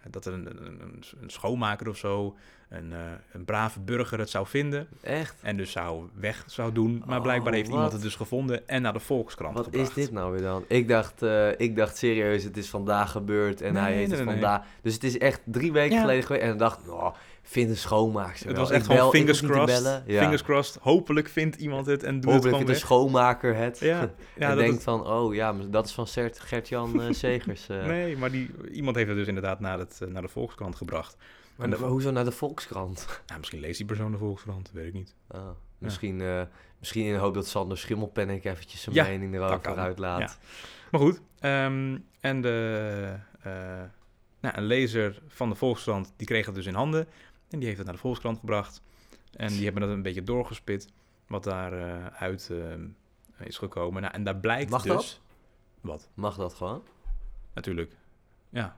Speaker 1: dat er een, een, een- een schoonmaker of zo, een, eh, een brave burger het zou vinden
Speaker 2: Echt?
Speaker 1: en dus zou weg zou doen. Maar
Speaker 2: Oh,
Speaker 1: blijkbaar heeft iemand
Speaker 2: wat?
Speaker 1: het dus gevonden en naar de Volkskrant
Speaker 2: Wat
Speaker 1: gebracht.
Speaker 2: is dit nou weer dan? Ik dacht, eh, ik dacht serieus, het is vandaag gebeurd en
Speaker 1: Nee,
Speaker 2: hij heeft
Speaker 1: nee,
Speaker 2: het
Speaker 1: nee,
Speaker 2: vandaag. Dus het is echt drie weken
Speaker 1: Ja.
Speaker 2: geleden geweest. En ik dacht, oh, vind een schoonmaakster
Speaker 1: Het
Speaker 2: wel.
Speaker 1: was echt
Speaker 2: Ik
Speaker 1: gewoon
Speaker 2: bel- ik
Speaker 1: fingers
Speaker 2: hoef niet te
Speaker 1: crossed,
Speaker 2: bellen. Ja.
Speaker 1: fingers crossed. Hopelijk vindt iemand het en doet
Speaker 2: Hopelijk vindt
Speaker 1: het
Speaker 2: de
Speaker 1: gewoon
Speaker 2: schoonmaker het.
Speaker 1: weg. Ja, ja
Speaker 2: en
Speaker 1: dat
Speaker 2: denkt
Speaker 1: het-
Speaker 2: van, oh ja, maar dat is van Sert- Gert-Jan eh, Segers. eh.
Speaker 1: nee, maar die, iemand heeft het dus inderdaad naar, het, eh, naar de Volkskrant gebracht.
Speaker 2: maar, maar hoezo naar de Volkskrant?
Speaker 1: Nou, misschien leest die persoon de Volkskrant, weet ik niet.
Speaker 2: Ah, misschien, eh, misschien in de hoop dat Sander Schimmelpenninck eventjes zijn
Speaker 1: Ja,
Speaker 2: mening erover
Speaker 1: kan.
Speaker 2: uitlaat.
Speaker 1: Ja. Maar goed, ehm, en de, eh, nou, een lezer van de Volkskrant, die kreeg het dus in handen. En die heeft het naar de Volkskrant gebracht. En die hebben dat een beetje doorgespit, wat daaruit uit ehm, is gekomen. Nou, en daar blijkt
Speaker 2: Mag
Speaker 1: dus...
Speaker 2: dat?
Speaker 1: Wat?
Speaker 2: Mag dat gewoon?
Speaker 1: Natuurlijk. Ja.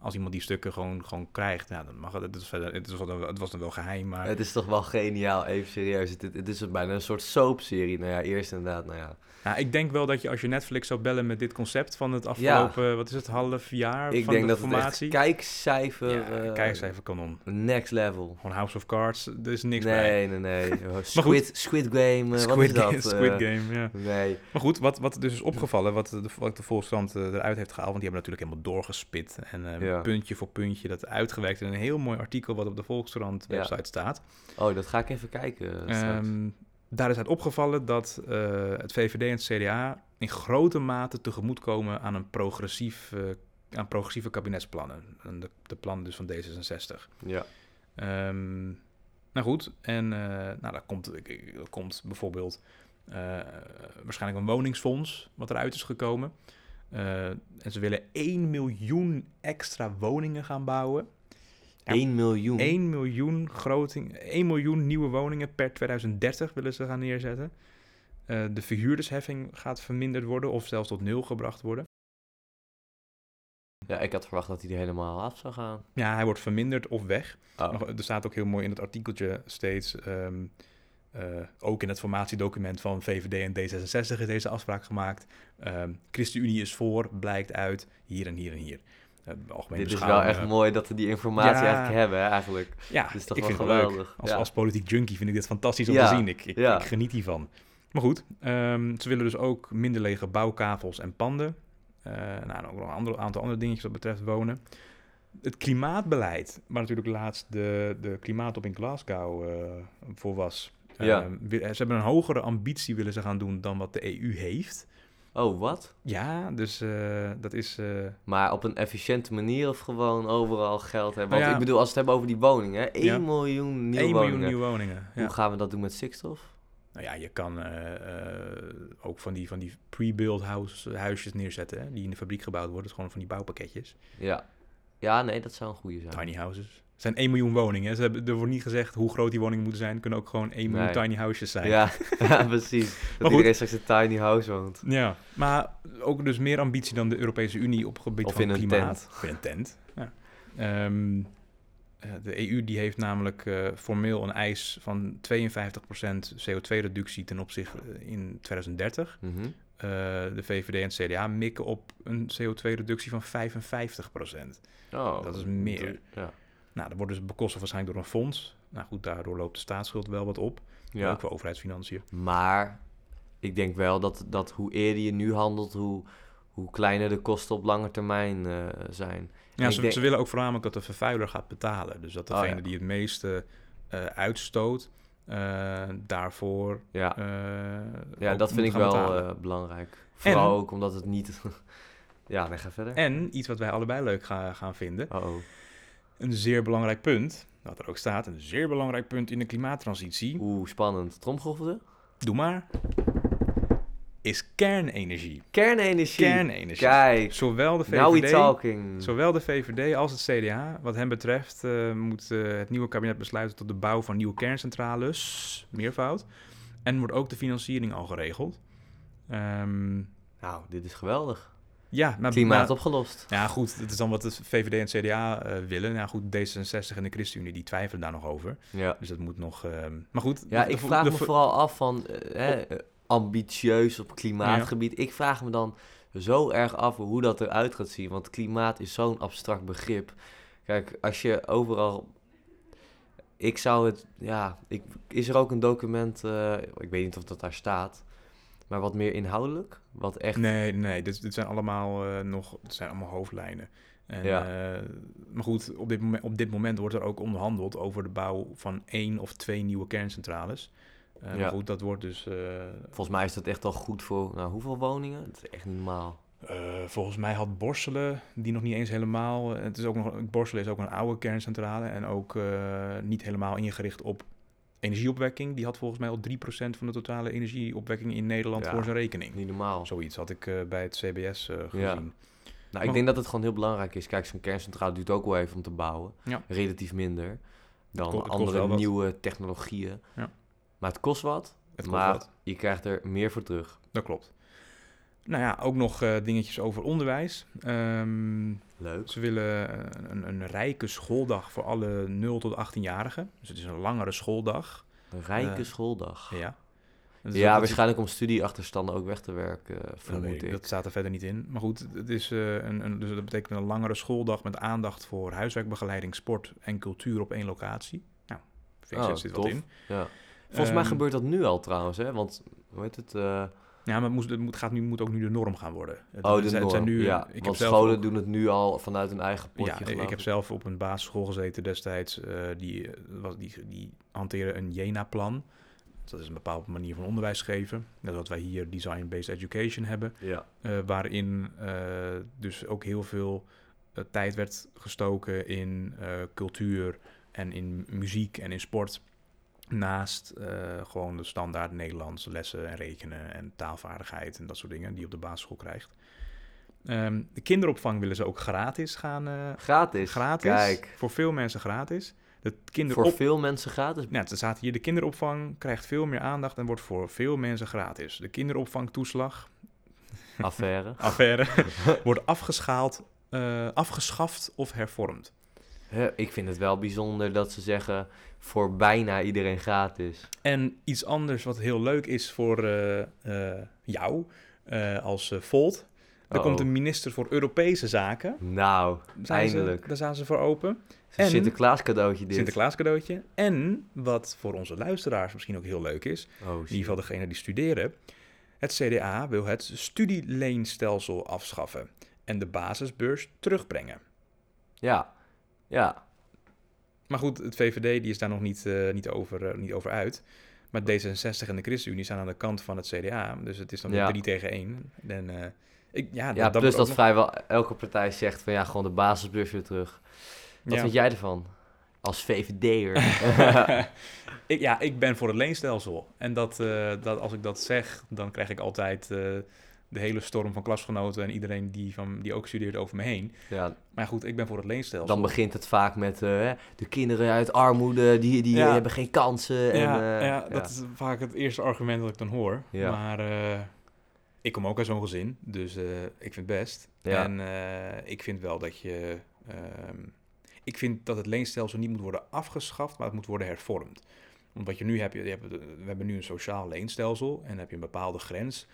Speaker 1: Als iemand die stukken gewoon, gewoon krijgt, ja, dan mag het. Het, is verder, het, is wel- het was dan wel geheim, maar...
Speaker 2: Het is toch wel geniaal, even serieus. Het, het is bijna een soort soapserie. Nou ja, eerst inderdaad, nou ja.
Speaker 1: Nou, ik denk wel dat je als je Netflix zou bellen met dit concept van het afgelopen, wat is het, half jaar
Speaker 2: Ik
Speaker 1: van
Speaker 2: denk
Speaker 1: de
Speaker 2: dat het echt
Speaker 1: formatie?
Speaker 2: kijkcijfer... eh,
Speaker 1: ja, kijk eens even kanon.
Speaker 2: Next level.
Speaker 1: Gewoon House of Cards, er is niks bij.
Speaker 2: nee, nee, nee, Oh,
Speaker 1: goed.
Speaker 2: Squid, Squid Game, eh, wat is
Speaker 1: Squid,
Speaker 2: dat?
Speaker 1: Game, Squid
Speaker 2: Eh,
Speaker 1: Game, ja.
Speaker 2: Nee,
Speaker 1: Maar goed, wat, wat dus is opgevallen, wat de, wat de Volkskrant eh, eruit heeft gehaald... want die hebben natuurlijk helemaal doorgespit... en eh,
Speaker 2: Ja.
Speaker 1: puntje voor puntje dat uitgewerkt... in een heel mooi artikel wat op de Volkskrant
Speaker 2: Ja.
Speaker 1: website staat.
Speaker 2: oh, dat ga ik even kijken. eh, straks.
Speaker 1: Ehm, daar is uit opgevallen dat eh, het VVD en het CDA... in grote mate tegemoetkomen aan, een progressief, eh, aan progressieve kabinetsplannen. En de, de plannen dus van D66.
Speaker 2: ja.
Speaker 1: Ehm, nou goed, en eh nou, daar komt, ik- ik- er komt bijvoorbeeld eh, waarschijnlijk een woningsfonds wat eruit is gekomen. Eh, en ze willen 1 miljoen extra woningen gaan bouwen. Ja.
Speaker 2: 1 miljoen.
Speaker 1: 1 miljoen, groting, 1 miljoen nieuwe woningen per 2030 willen ze gaan neerzetten. Eh, de verhuurdersheffing gaat verminderd worden of zelfs tot nul gebracht worden.
Speaker 2: Ja, ik had verwacht dat hij er helemaal af zou gaan.
Speaker 1: Ja, hij wordt verminderd of weg.
Speaker 2: Oh.
Speaker 1: Maar er staat ook heel mooi in het artikeltje steeds, ehm, eh, ook in het formatiedocument van VVD en D66 is deze afspraak gemaakt. Ehm ChristenUnie is voor, blijkt uit, hier en hier en hier. Eh, algemene
Speaker 2: Dit is wel
Speaker 1: beschouwing,
Speaker 2: echt
Speaker 1: eh,
Speaker 2: mooi dat we die informatie
Speaker 1: ja.
Speaker 2: eigenlijk hebben, hè, eigenlijk.
Speaker 1: Ja,
Speaker 2: Dit is toch
Speaker 1: ik
Speaker 2: wel
Speaker 1: vind het leuk.
Speaker 2: geweldig.
Speaker 1: Als,
Speaker 2: Ja.
Speaker 1: als politiek junkie vind ik dit fantastisch om
Speaker 2: Ja,
Speaker 1: te zien. Ik, ik,
Speaker 2: ja.
Speaker 1: ik geniet hiervan. Maar goed, ehm, ze willen dus ook minder lege bouwkavels en panden. Eh, nou, en ook nog een ander, aantal andere dingetjes wat betreft wonen. Het klimaatbeleid, waar natuurlijk laatst de, de klimaatop in Glasgow eh, voor was.
Speaker 2: Ja.
Speaker 1: Ehm, wi- ze hebben een hogere ambitie willen ze gaan doen dan wat de EU E heeft.
Speaker 2: Oh, wat?
Speaker 1: Ja, dus eh, dat is... eh,
Speaker 2: Maar op een efficiënte manier of gewoon overal geld hebben?
Speaker 1: Nou
Speaker 2: Want
Speaker 1: ja.
Speaker 2: ik bedoel, als we het hebben over die woningen, hè? 1
Speaker 1: Ja.
Speaker 2: miljoen nieuwe
Speaker 1: 1
Speaker 2: woningen.
Speaker 1: miljoen nieuwe woningen. Ja.
Speaker 2: Hoe gaan we dat doen met stikstof?
Speaker 1: Nou ja, je kan eh, eh, ook van die, van die pre-built house- huisjes neerzetten, hè, die in de fabriek gebouwd worden. Dus gewoon van die bouwpakketjes.
Speaker 2: Ja. Ja, nee, dat zou een goede zijn.
Speaker 1: Tiny houses. Er zijn 1 miljoen woningen. hè. Ze hebben, er wordt niet gezegd hoe groot die woningen moeten zijn. Het kunnen ook gewoon 1 miljoen
Speaker 2: Nee.
Speaker 1: tiny houses zijn.
Speaker 2: Ja, ja, precies. Dat
Speaker 1: goed.
Speaker 2: iedereen straks een tiny house woont.
Speaker 1: Ja, maar ook dus meer ambitie dan de Europese Unie op gebied
Speaker 2: Of
Speaker 1: van
Speaker 2: in een
Speaker 1: klimaat. Of in een tent. Ja. Ehm, eh, de EU die heeft namelijk eh, formeel een eis van 52% CO2-reductie ten opzichte eh, in 2030.
Speaker 2: Mhm.
Speaker 1: Eh, de VVD en CDA mikken op een CO2-reductie van 55%.
Speaker 2: oh,
Speaker 1: Dat is meer.
Speaker 2: d- Ja.
Speaker 1: Nou, dat wordt dus bekostigd waarschijnlijk door een fonds. Nou goed, daardoor loopt de staatsschuld wel wat op.
Speaker 2: ja.
Speaker 1: Ook qua overheidsfinanciën.
Speaker 2: Maar ik denk wel dat, dat hoe eerder je nu handelt, hoe, hoe kleiner de kosten op lange termijn eh, zijn.
Speaker 1: Ja,
Speaker 2: Ik
Speaker 1: ze,
Speaker 2: denk-
Speaker 1: ze willen ook voornamelijk dat de vervuiler gaat betalen. Dus dat
Speaker 2: Oh, ja.
Speaker 1: degene die het meeste eh, uitstoot, eh, daarvoor.
Speaker 2: Ja,
Speaker 1: eh,
Speaker 2: ja
Speaker 1: ook
Speaker 2: dat vind
Speaker 1: moet
Speaker 2: ik
Speaker 1: gaan
Speaker 2: wel
Speaker 1: betalen.
Speaker 2: eh, belangrijk. Vooral ook omdat het niet... ja, nee, ga verder.
Speaker 1: En iets wat wij allebei leuk ga- gaan vinden:
Speaker 2: Oh, oh.
Speaker 1: een zeer belangrijk punt. Wat er ook staat, een zeer belangrijk punt in de klimaattransitie.
Speaker 2: Oeh, spannend. Tromgeoffelde?
Speaker 1: Doe maar. Is kernenergie.
Speaker 2: Kernenergie.
Speaker 1: Kernenergie.
Speaker 2: Kijk, nou
Speaker 1: Zowel de
Speaker 2: now we
Speaker 1: VVD
Speaker 2: talking.
Speaker 1: Zowel de VVD als het CDA, wat hen betreft, eh, moet eh, het nieuwe kabinet besluiten tot de bouw van nieuwe kerncentrales, meervoud. En wordt ook de financiering al geregeld. Ehm,
Speaker 2: Nou, dit is geweldig.
Speaker 1: ja, maar,
Speaker 2: Klimaat
Speaker 1: maar-
Speaker 2: opgelost.
Speaker 1: ja, goed, dat is dan wat de VVD en het CDA eh, willen. Ja, goed, D66 en de ChristenUnie die twijfelen daar nog over.
Speaker 2: Ja.
Speaker 1: Dus dat moet nog. ehm, maar goed,
Speaker 2: Ja,
Speaker 1: de-
Speaker 2: ik
Speaker 1: de-
Speaker 2: vraag
Speaker 1: de- Oh.
Speaker 2: me vooral af van eh, hè, eh, ambitieus op klimaatgebied. Ik vraag me dan zo erg af hoe dat eruit gaat zien. Want klimaat is zo'n abstract begrip. Kijk, als je overal. Ik zou het. Ja, ik, is er ook een document. eh, ik weet niet of dat daar staat. Maar wat meer inhoudelijk? Wat echt.
Speaker 1: Nee, nee, dit, dit zijn allemaal eh, nog het zijn allemaal hoofdlijnen. En,
Speaker 2: Ja.
Speaker 1: eh, maar goed, op dit, momen- op dit moment wordt er ook onderhandeld over de bouw van één of twee nieuwe kerncentrales. Eh, maar
Speaker 2: Ja.
Speaker 1: goed, dat wordt dus eh,
Speaker 2: Volgens mij is dat echt al goed voor. Nou, hoeveel woningen? Dat is echt niet normaal.
Speaker 1: eh, volgens mij had Borselen die nog niet eens helemaal. eh, Het is ook nog, Borselen is ook een oude kerncentrale en ook eh, niet helemaal ingericht op energieopwekking. Die had volgens mij al 3% van de totale energieopwekking in Nederland
Speaker 2: Ja.
Speaker 1: voor zijn rekening.
Speaker 2: Niet normaal.
Speaker 1: Zoiets had ik eh, bij het CBS eh, gezien.
Speaker 2: Nou, ik
Speaker 1: Maar-
Speaker 2: denk dat het gewoon heel belangrijk is. Kijk, zo'n kerncentrale duurt ook wel even om te bouwen.
Speaker 1: Ja.
Speaker 2: Relatief minder dan
Speaker 1: ko- het kost
Speaker 2: andere
Speaker 1: wel wat.
Speaker 2: nieuwe technologieën.
Speaker 1: Ja.
Speaker 2: Maar het kost wat,
Speaker 1: Het klopt
Speaker 2: maar
Speaker 1: wel.
Speaker 2: je krijgt er meer voor terug.
Speaker 1: Dat klopt. Nou ja, ook nog eh, dingetjes over onderwijs. Ehm,
Speaker 2: Leuk.
Speaker 1: ze willen eh, een, een rijke schooldag voor alle 0 tot 18-jarigen. Dus het is een langere schooldag.
Speaker 2: Een rijke
Speaker 1: Eh,
Speaker 2: schooldag.
Speaker 1: Ja, dus Dat is-
Speaker 2: ja,
Speaker 1: dat is-
Speaker 2: waarschijnlijk om studieachterstanden ook weg te werken, eh,
Speaker 1: dat, weet
Speaker 2: vermoed
Speaker 1: ik.
Speaker 2: ik.
Speaker 1: dat staat er verder niet in. Maar goed, het is, eh, een, een, dus dat betekent een langere schooldag met aandacht voor huiswerkbegeleiding, sport en cultuur op één locatie. Nou, vind ik
Speaker 2: Oh,
Speaker 1: zit- zit wat
Speaker 2: tof.
Speaker 1: in.
Speaker 2: Ja. Volgens mij
Speaker 1: Ehm,
Speaker 2: gebeurt dat nu al trouwens, hè? Want, hoe heet het? eh,
Speaker 1: Ja, maar het, moest, het moet, gaat nu, moet ook nu de norm gaan worden. Het-
Speaker 2: oh,
Speaker 1: het
Speaker 2: de
Speaker 1: zijn- het
Speaker 2: norm.
Speaker 1: zijn nu,
Speaker 2: ja,
Speaker 1: ik heb
Speaker 2: want
Speaker 1: zelf
Speaker 2: scholen
Speaker 1: ook-
Speaker 2: doen het nu al vanuit hun eigen potje,
Speaker 1: Ja, ik
Speaker 2: geloof
Speaker 1: heb zelf op een basisschool gezeten destijds. eh, die, eh, was, die, die hanteren een JENA-plan. Dat is een bepaalde manier van onderwijs geven. Net wat wij hier design-based education hebben.
Speaker 2: Ja.
Speaker 1: eh, waarin eh, dus ook heel veel eh, tijd werd gestoken in eh, cultuur en in muziek en in sport. Naast eh, gewoon de standaard Nederlandse lessen en rekenen en taalvaardigheid en dat soort dingen die je op de basisschool krijgt. Ehm, de kinderopvang willen ze ook gratis gaan, eh,
Speaker 2: Gratis.
Speaker 1: gratis.
Speaker 2: Kijk,
Speaker 1: Voor veel mensen gratis. De
Speaker 2: voor
Speaker 1: kinderopvang.
Speaker 2: veel mensen gratis.
Speaker 1: Nou, er staat hier: de kinderopvang krijgt veel meer aandacht en wordt voor veel mensen gratis. De kinderopvangtoeslag,
Speaker 2: Affaire.
Speaker 1: affaire, wordt afgeschaald, eh, afgeschaft of hervormd.
Speaker 2: Hè, Ik vind het wel bijzonder dat ze zeggen voor bijna iedereen gratis.
Speaker 1: En iets anders wat heel leuk is voor eh, eh, jou eh, als eh, Volt. Er
Speaker 2: Uh-oh.
Speaker 1: komt een minister voor Europese zaken.
Speaker 2: Nou,
Speaker 1: Zijn ze-
Speaker 2: Eindelijk.
Speaker 1: daar staan ze voor open.
Speaker 2: een
Speaker 1: En-
Speaker 2: Sinterklaas cadeautje dit.
Speaker 1: Sinterklaas cadeautje. En wat voor onze luisteraars misschien ook heel leuk is.
Speaker 2: Oh,
Speaker 1: in ieder geval degene die studeren. Het CDA wil het studieleenstelsel afschaffen en de basisbeurs terugbrengen.
Speaker 2: Ja, ja.
Speaker 1: Maar goed, het VVD die is daar nog niet, eh, niet, over, eh, niet over uit. Maar D66 en de ChristenUnie staan aan de kant van het CDA. Dus het is dan
Speaker 2: Ja.
Speaker 1: 3 tegen 1. En, eh, ik, ja,
Speaker 2: Ja, plus
Speaker 1: wordt ook
Speaker 2: dat
Speaker 1: nog-
Speaker 2: vrijwel elke partij zegt van ja, gewoon de basisbeurs weer terug. Wat
Speaker 1: Ja.
Speaker 2: vind jij ervan? Als VVD'er.
Speaker 1: ik, ja, ik ben voor het leenstelsel. En dat, eh, dat, als ik dat zeg, dan krijg ik altijd eh, de hele storm van klasgenoten en iedereen die, van, die ook studeert over me heen.
Speaker 2: ja,
Speaker 1: Maar goed, ik ben voor het leenstelsel.
Speaker 2: dan begint het vaak met eh, hè, de kinderen uit armoede, die, die eh,
Speaker 1: Ja.
Speaker 2: hebben geen kansen. En,
Speaker 1: ja,
Speaker 2: eh,
Speaker 1: ja, dat is vaak het eerste argument dat ik dan hoor.
Speaker 2: Ja.
Speaker 1: Maar eh, ik kom ook uit zo'n gezin, dus eh, ik vind het best.
Speaker 2: Ja.
Speaker 1: En eh, ik vind wel dat je... ehm, ik vind dat het leenstelsel niet moet worden afgeschaft, maar het moet worden hervormd. Want wat je nu hebt, je hebt het- we hebben nu een sociaal leenstelsel en dan heb je een bepaalde grens.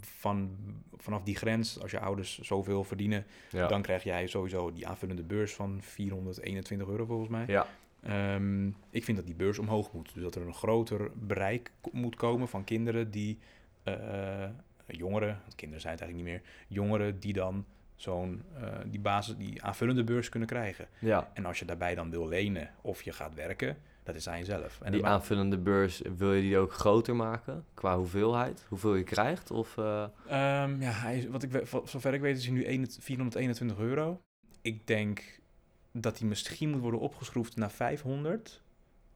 Speaker 1: Van, vanaf die grens, als je ouders zoveel verdienen,
Speaker 2: ja.
Speaker 1: dan krijg jij sowieso die aanvullende beurs van 421 euro volgens mij.
Speaker 2: Ja.
Speaker 1: Ehm, ik vind dat die beurs omhoog moet. Dus dat er een groter bereik ko- moet komen van kinderen die, eh, jongeren, want kinderen zijn het eigenlijk niet meer, jongeren die dan zo'n, eh, die basis, die aanvullende beurs kunnen krijgen.
Speaker 2: ja.
Speaker 1: En als je daarbij dan wil lenen of je gaat werken, dat is aan jezelf. En
Speaker 2: die
Speaker 1: dat maakt-
Speaker 2: aanvullende beurs, wil je die ook groter maken qua hoeveelheid? Hoeveel je krijgt? Of, eh,
Speaker 1: Ehm, ja, hij is, wat ik, we- van- zover ik weet is hij nu 1 421 euro. Ik denk dat hij misschien moet worden opgeschroefd naar 500.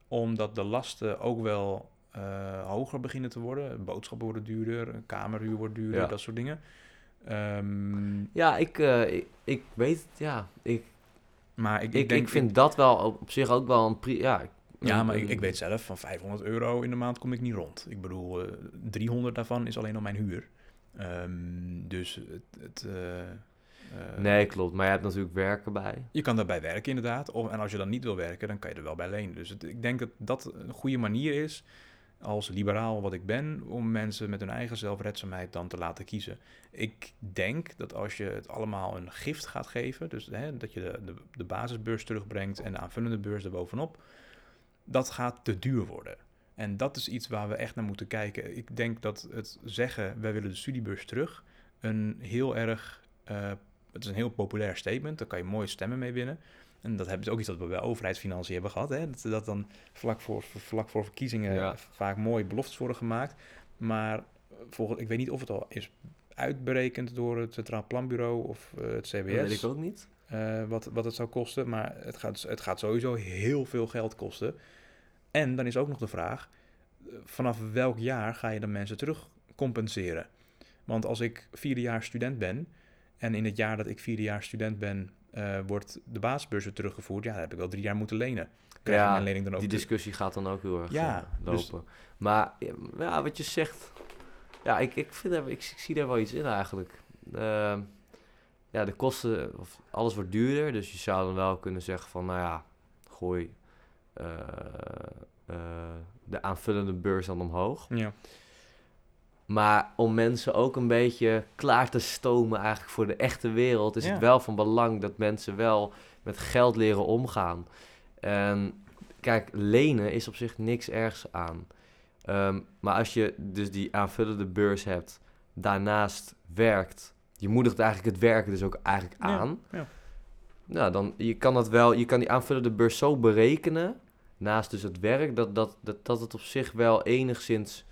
Speaker 1: Omdat de lasten ook wel eh, hoger beginnen te worden. Boodschappen worden duurder, een kamerhuur wordt duurder,
Speaker 2: Ja.
Speaker 1: dat soort dingen. Ehm,
Speaker 2: Ja, ik, eh, ik, ik weet het, ja. Ik,
Speaker 1: maar ik,
Speaker 2: ik,
Speaker 1: ik,
Speaker 2: ik,
Speaker 1: denk,
Speaker 2: vind dat wel op, op zich ook wel een... pri- Ja, ik-
Speaker 1: ja,
Speaker 2: een-
Speaker 1: maar ik,
Speaker 2: een-
Speaker 1: ik weet zelf, van 500 euro in de maand kom ik niet rond. Ik bedoel, eh, 300 daarvan is alleen al mijn huur. Ehm, dus het... het eh, eh,
Speaker 2: Nee, klopt. Maar je hebt natuurlijk werken bij.
Speaker 1: Je kan daarbij werken, inderdaad. Of, en als je dan niet wil werken, dan kan je er wel bij lenen. Dus het- ik denk dat dat een goede manier is, als liberaal wat ik ben, om mensen met hun eigen zelfredzaamheid dan te laten kiezen. Ik denk dat als je het allemaal een gift gaat geven, dus hè, dat je de, de, de basisbeurs terugbrengt en de aanvullende beurs erbovenop, dat gaat te duur worden. En dat is iets waar we echt naar moeten kijken. Ik denk dat het zeggen, wij willen de studiebeurs terug, een heel erg eh, het is een heel populair statement. Daar kan je mooie stemmen mee winnen. En dat hebben ze ook iets dat we bij overheidsfinanciën hebben gehad. Hè? Dat, dat dan vlak voor, vlak voor verkiezingen
Speaker 2: Ja.
Speaker 1: vaak mooie beloftes worden gemaakt. Maar volgens, ik weet niet of het al is uitberekend door het Centraal Planbureau of eh, het CBS.
Speaker 2: Dat weet ik ook niet.
Speaker 1: eh, wat, wat het zou kosten. Maar het gaat, het gaat sowieso heel veel geld kosten. En dan is ook nog de vraag: eh, vanaf welk jaar ga je dan mensen terug compenseren? Want als ik vierdejaars student ben en in het jaar dat ik vierdejaars student ben, eh, wordt de basisbeurs weer teruggevoerd, ja, dan heb ik wel drie jaar moeten lenen. Krijg ik
Speaker 2: Ja,
Speaker 1: mijn lening dan ook
Speaker 2: Die
Speaker 1: terug?
Speaker 2: discussie gaat dan ook heel erg
Speaker 1: Ja,
Speaker 2: eh,
Speaker 1: dus-
Speaker 2: lopen. Maar ja, wat je zegt... Ja, ik, ik, vind, daar- ik, ik zie daar wel iets in eigenlijk. Ehm, ja, de kosten... Of alles wordt duurder. Dus je zou dan wel kunnen zeggen van... Nou ja, gooi eh, eh, de aanvullende beurs dan omhoog.
Speaker 1: Ja.
Speaker 2: Maar om mensen ook een beetje klaar te stomen eigenlijk voor de echte wereld, is
Speaker 1: Ja.
Speaker 2: het wel van belang dat mensen wel met geld leren omgaan. En kijk, lenen is op zich niks ergs aan. Ehm, maar als je dus die aanvullende beurs hebt, daarnaast werkt, je moedigt eigenlijk het werken dus ook eigenlijk
Speaker 1: Ja,
Speaker 2: aan.
Speaker 1: ja.
Speaker 2: Nou, dan je kan dat wel, je kan die aanvullende beurs zo berekenen, naast dus het werk, dat, dat, dat, dat het op zich wel enigszins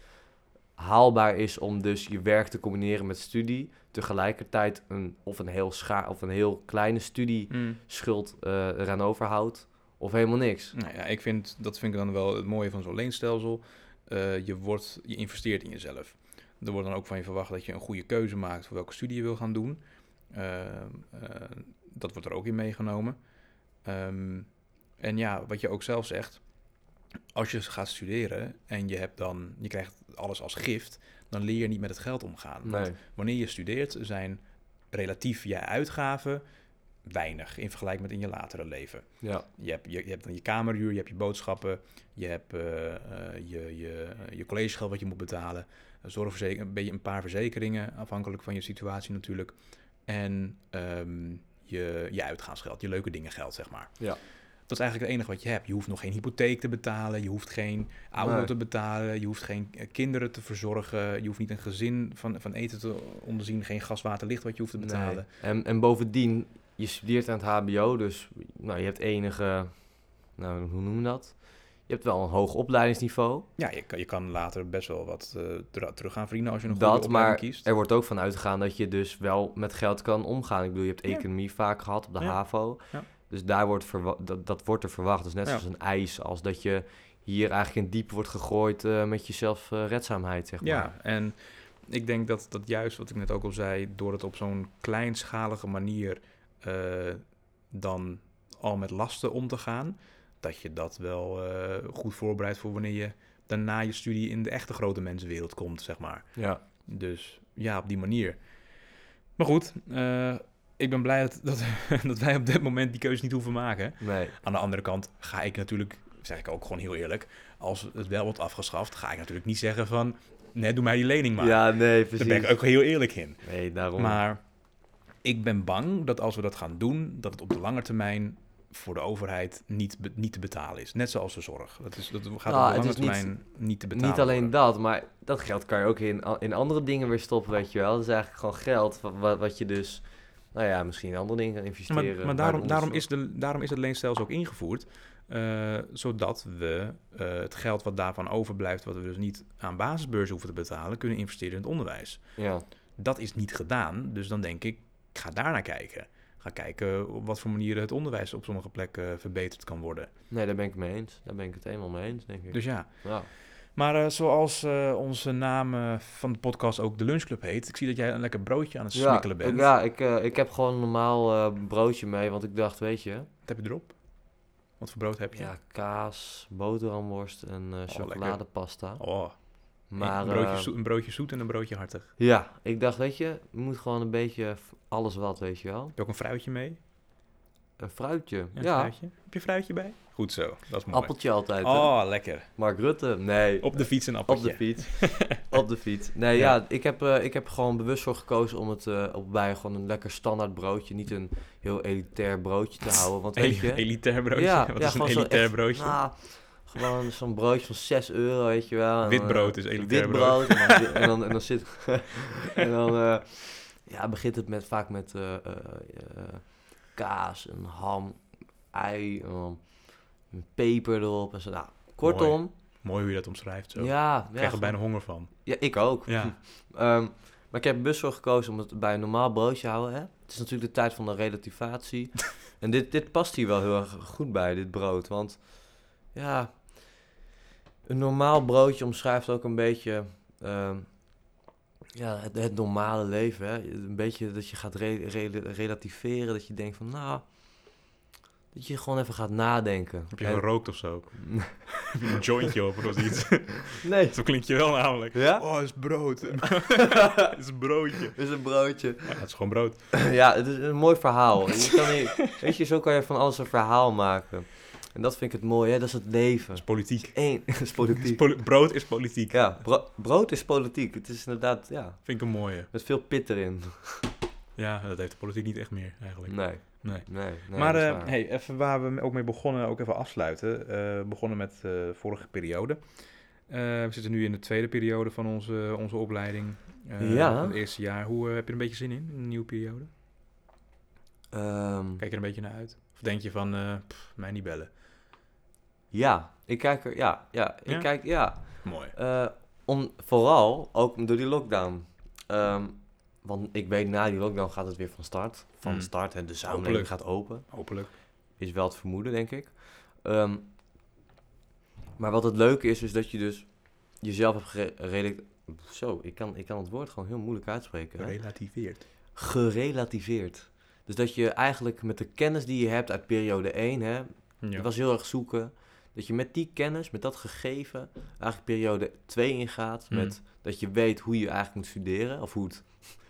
Speaker 2: haalbaar is om dus je werk te combineren met studie. Tegelijkertijd een, of een heel schaar of een heel kleine studieschuld
Speaker 1: Mm.
Speaker 2: eh, eraan overhoudt. Of helemaal niks.
Speaker 1: Nou ja, ik vind, dat vind ik dan wel het mooie van zo'n leenstelsel. Eh, je, wordt, je investeert in jezelf. Er wordt dan ook van je verwacht dat je een goede keuze maakt voor welke studie je wil gaan doen. Eh, eh, dat wordt er ook in meegenomen. Ehm, en ja, wat je ook zelf zegt, als je gaat studeren en je, hebt dan, je krijgt alles als gift, dan leer je niet met het geld omgaan. Want
Speaker 2: Nee.
Speaker 1: wanneer je studeert zijn relatief je uitgaven weinig in vergelijking met in je latere leven.
Speaker 2: Ja.
Speaker 1: Je hebt, je, je hebt dan je kamerhuur, je hebt je boodschappen, je hebt eh, eh, je, je, je collegegeld wat je moet betalen, een zorgverzekering, een beetje een paar verzekeringen, afhankelijk van je situatie natuurlijk. En ehm, je, je uitgaansgeld, je leuke dingen geld, zeg maar.
Speaker 2: Ja.
Speaker 1: Dat is eigenlijk het enige wat je hebt. Je hoeft nog geen hypotheek te betalen, je hoeft geen auto
Speaker 2: Nee.
Speaker 1: te betalen, je hoeft geen eh, kinderen te verzorgen, je hoeft niet een gezin van, van eten te onderzien, geen gas, water, licht wat je hoeft te betalen.
Speaker 2: Nee. En, en bovendien, je studeert aan het HBO, dus nou, je hebt enige. Nou, hoe noem je dat? Je hebt wel een hoog opleidingsniveau.
Speaker 1: Ja, je, kan- je kan later best wel wat eh, tra- terug gaan verdienen als je een goede
Speaker 2: Dat,
Speaker 1: opleiding
Speaker 2: maar
Speaker 1: kiest.
Speaker 2: er wordt ook van uitgegaan dat je dus wel met geld kan omgaan. Ik bedoel, je hebt
Speaker 1: Ja.
Speaker 2: economie vaak gehad op de
Speaker 1: Ja.
Speaker 2: HAVO.
Speaker 1: Ja.
Speaker 2: Dus daar wordt verwa- dat, dat wordt er verwacht. Dus net
Speaker 1: Ja.
Speaker 2: zoals een ijs, als dat je hier eigenlijk in diep wordt gegooid eh, met je zelfredzaamheid, zeg maar.
Speaker 1: Ja, en ik denk dat dat juist wat ik net ook al zei, door het op zo'n kleinschalige manier eh, dan al met lasten om te gaan, dat je dat wel eh, goed voorbereidt voor wanneer je daarna je studie in de echte grote mensenwereld komt, zeg maar.
Speaker 2: ja.
Speaker 1: Dus ja, op die manier. Maar goed, eh, ik ben blij dat, dat, dat wij op dit moment die keuze niet hoeven maken.
Speaker 2: Nee,
Speaker 1: Aan de andere kant ga ik natuurlijk, zeg ik ook gewoon heel eerlijk, als het wel wordt afgeschaft, ga ik natuurlijk niet zeggen van, nee, doe mij die lening maar.
Speaker 2: ja, nee,
Speaker 1: Daar
Speaker 2: precies.
Speaker 1: ben ik ook heel eerlijk in.
Speaker 2: Nee, daarom.
Speaker 1: Maar ik ben bang dat als we dat gaan doen, dat het op de lange termijn voor de overheid niet, be- niet te betalen is. Net zoals de zorg. Dat, is, dat gaat
Speaker 2: Nou,
Speaker 1: op de
Speaker 2: het
Speaker 1: lange
Speaker 2: is niet-
Speaker 1: termijn niet, te betalen.
Speaker 2: Niet alleen
Speaker 1: worden.
Speaker 2: dat, maar dat geld kan je ook in, a- in andere dingen weer stoppen, weet je wel. Dat is eigenlijk gewoon geld wa- wa- wat, je dus, nou ja, misschien in andere dingen kan investeren.
Speaker 1: Maar, maar
Speaker 2: waar
Speaker 1: daarom,
Speaker 2: de
Speaker 1: daarom,
Speaker 2: onderstroom-
Speaker 1: is de, daarom is het leenstelsel ook ingevoerd. eh, zodat we eh, het geld wat daarvan overblijft, wat we dus niet aan basisbeurs hoeven te betalen, kunnen investeren in het onderwijs.
Speaker 2: Ja.
Speaker 1: Dat is niet gedaan, dus dan denk ik, ik ga daar naar kijken. Ga kijken op wat voor manieren het onderwijs op sommige plekken eh, verbeterd kan worden.
Speaker 2: Nee, daar ben ik mee eens. Daar ben ik het eenmaal mee eens, denk ik.
Speaker 1: Dus ja,
Speaker 2: ja.
Speaker 1: Maar eh, zoals eh, onze naam eh, van de podcast ook de Lunchclub heet, ik zie dat jij een lekker broodje aan het smikkelen
Speaker 2: ja,
Speaker 1: bent.
Speaker 2: Ja, ik, eh, ik heb gewoon een normaal eh, broodje mee, want ik dacht, weet je,
Speaker 1: Wat heb je erop? Wat voor brood heb je?
Speaker 2: ja, kaas, boterhamworst en eh, chocoladepasta.
Speaker 1: Oh,
Speaker 2: maar
Speaker 1: een, broodje
Speaker 2: eh,
Speaker 1: zoet, een broodje zoet en een broodje hartig. Heb
Speaker 2: ja, ik dacht, weet je, je moet gewoon een beetje v- alles wat, weet je wel.
Speaker 1: je ook een fruitje mee?
Speaker 2: Een fruitje,
Speaker 1: Ja.
Speaker 2: ja.
Speaker 1: een fruitje. Heb je fruitje bij? Goed zo, dat is mooi.
Speaker 2: Appeltje altijd, hè.
Speaker 1: Oh, lekker.
Speaker 2: Mark Rutte, nee.
Speaker 1: Op de fiets een
Speaker 2: Op
Speaker 1: appeltje.
Speaker 2: de fiets. op de fiets. Nee, ja, ik, heb, eh, ik heb gewoon bewust voor gekozen om het eh, op bij gewoon een lekker standaard broodje, niet een heel elitair broodje te houden. Want weet
Speaker 1: Eli-
Speaker 2: je,
Speaker 1: elitair broodje. Wat is een
Speaker 2: gewoon zo'n
Speaker 1: elitair
Speaker 2: echt-
Speaker 1: broodje?
Speaker 2: nou, gewoon zo'n broodje van 6 euro, weet je wel. En
Speaker 1: Wit
Speaker 2: dan,
Speaker 1: brood
Speaker 2: eh,
Speaker 1: is elitair
Speaker 2: wit
Speaker 1: brood.
Speaker 2: brood. en dan- en, dan, en dan zit... en dan eh, ja, begint het met, vaak met eh, eh, eh, kaas, een ham, ei, en dan een peper erop. En zo. Nou, kortom,
Speaker 1: Mooi hoe je dat omschrijft. Zo.
Speaker 2: ja, ja,
Speaker 1: ik krijg er
Speaker 2: gewoon-
Speaker 1: bijna honger van.
Speaker 2: ja, ik ook.
Speaker 1: Ja.
Speaker 2: Ehm, maar ik heb bewust voor gekozen om het bij een normaal broodje te houden. Hè? Het is natuurlijk de tijd van de relativatie. en dit, dit past hier wel heel erg goed bij, dit brood. Want ja, een normaal broodje omschrijft ook een beetje ehm, ja, het, het normale leven. Hè? Een beetje dat je gaat re- re- relativeren. Dat je denkt van nou, dat je gewoon even gaat nadenken.
Speaker 1: Heb je
Speaker 2: En-
Speaker 1: gerookt of zo? Heb je een jointje op of iets?
Speaker 2: Nee.
Speaker 1: Zo klinkt je wel namelijk.
Speaker 2: Ja?
Speaker 1: Oh, is brood. is een broodje.
Speaker 2: is een broodje.
Speaker 1: Ja, het is gewoon brood.
Speaker 2: Ja, het is een mooi verhaal. Je kan hier- weet je, zo kan je van alles een verhaal maken. En dat vind ik het mooi, hè? dat is het leven.
Speaker 1: Het is politiek.
Speaker 2: Eén is
Speaker 1: Het is
Speaker 2: politiek.
Speaker 1: poli- brood is politiek.
Speaker 2: Ja, bro- brood is politiek. Het is inderdaad, ja,
Speaker 1: Vind ik een mooie.
Speaker 2: met veel pit erin.
Speaker 1: Ja, dat heeft de politiek niet echt meer eigenlijk.
Speaker 2: Nee,
Speaker 1: Nee.
Speaker 2: nee, nee.
Speaker 1: maar
Speaker 2: dat is
Speaker 1: eh,
Speaker 2: waar.
Speaker 1: hey, even waar we ook mee begonnen, ook even afsluiten. Eh, we begonnen met eh, vorige periode. Eh, we zitten nu in de tweede periode van onze, onze opleiding. eh,
Speaker 2: Ja.
Speaker 1: Van het eerste jaar. Hoe eh, heb je er een beetje zin in? Een nieuwe periode?
Speaker 2: Ehm,
Speaker 1: Kijk je er een beetje naar uit? Of denk je van, eh, pff, mij niet bellen?
Speaker 2: ja, ik kijk er, ja, ja, ik
Speaker 1: Ja?
Speaker 2: kijk, ja.
Speaker 1: Mooi.
Speaker 2: Eh, om, vooral ook door die lockdown. Ehm, want ik weet, na die lockdown gaat het weer van start. Van
Speaker 1: Mm.
Speaker 2: start en de
Speaker 1: Hopelijk.
Speaker 2: samenleving gaat open.
Speaker 1: Hopelijk.
Speaker 2: is wel het vermoeden, denk ik. Ehm, maar wat het leuke is, is dat je dus jezelf hebt gerelativeerd. Zo, ik kan, ik kan het woord gewoon heel moeilijk uitspreken. Hè?
Speaker 1: Gerelativeerd.
Speaker 2: Gerelativeerd. Dus dat je eigenlijk met de kennis die je hebt uit periode 1, hè,
Speaker 1: Ja.
Speaker 2: het was heel erg zoeken, dat je met die kennis, met dat gegeven, eigenlijk periode 2 ingaat.
Speaker 1: Mm.
Speaker 2: Met dat je weet hoe je eigenlijk moet studeren, of hoe het,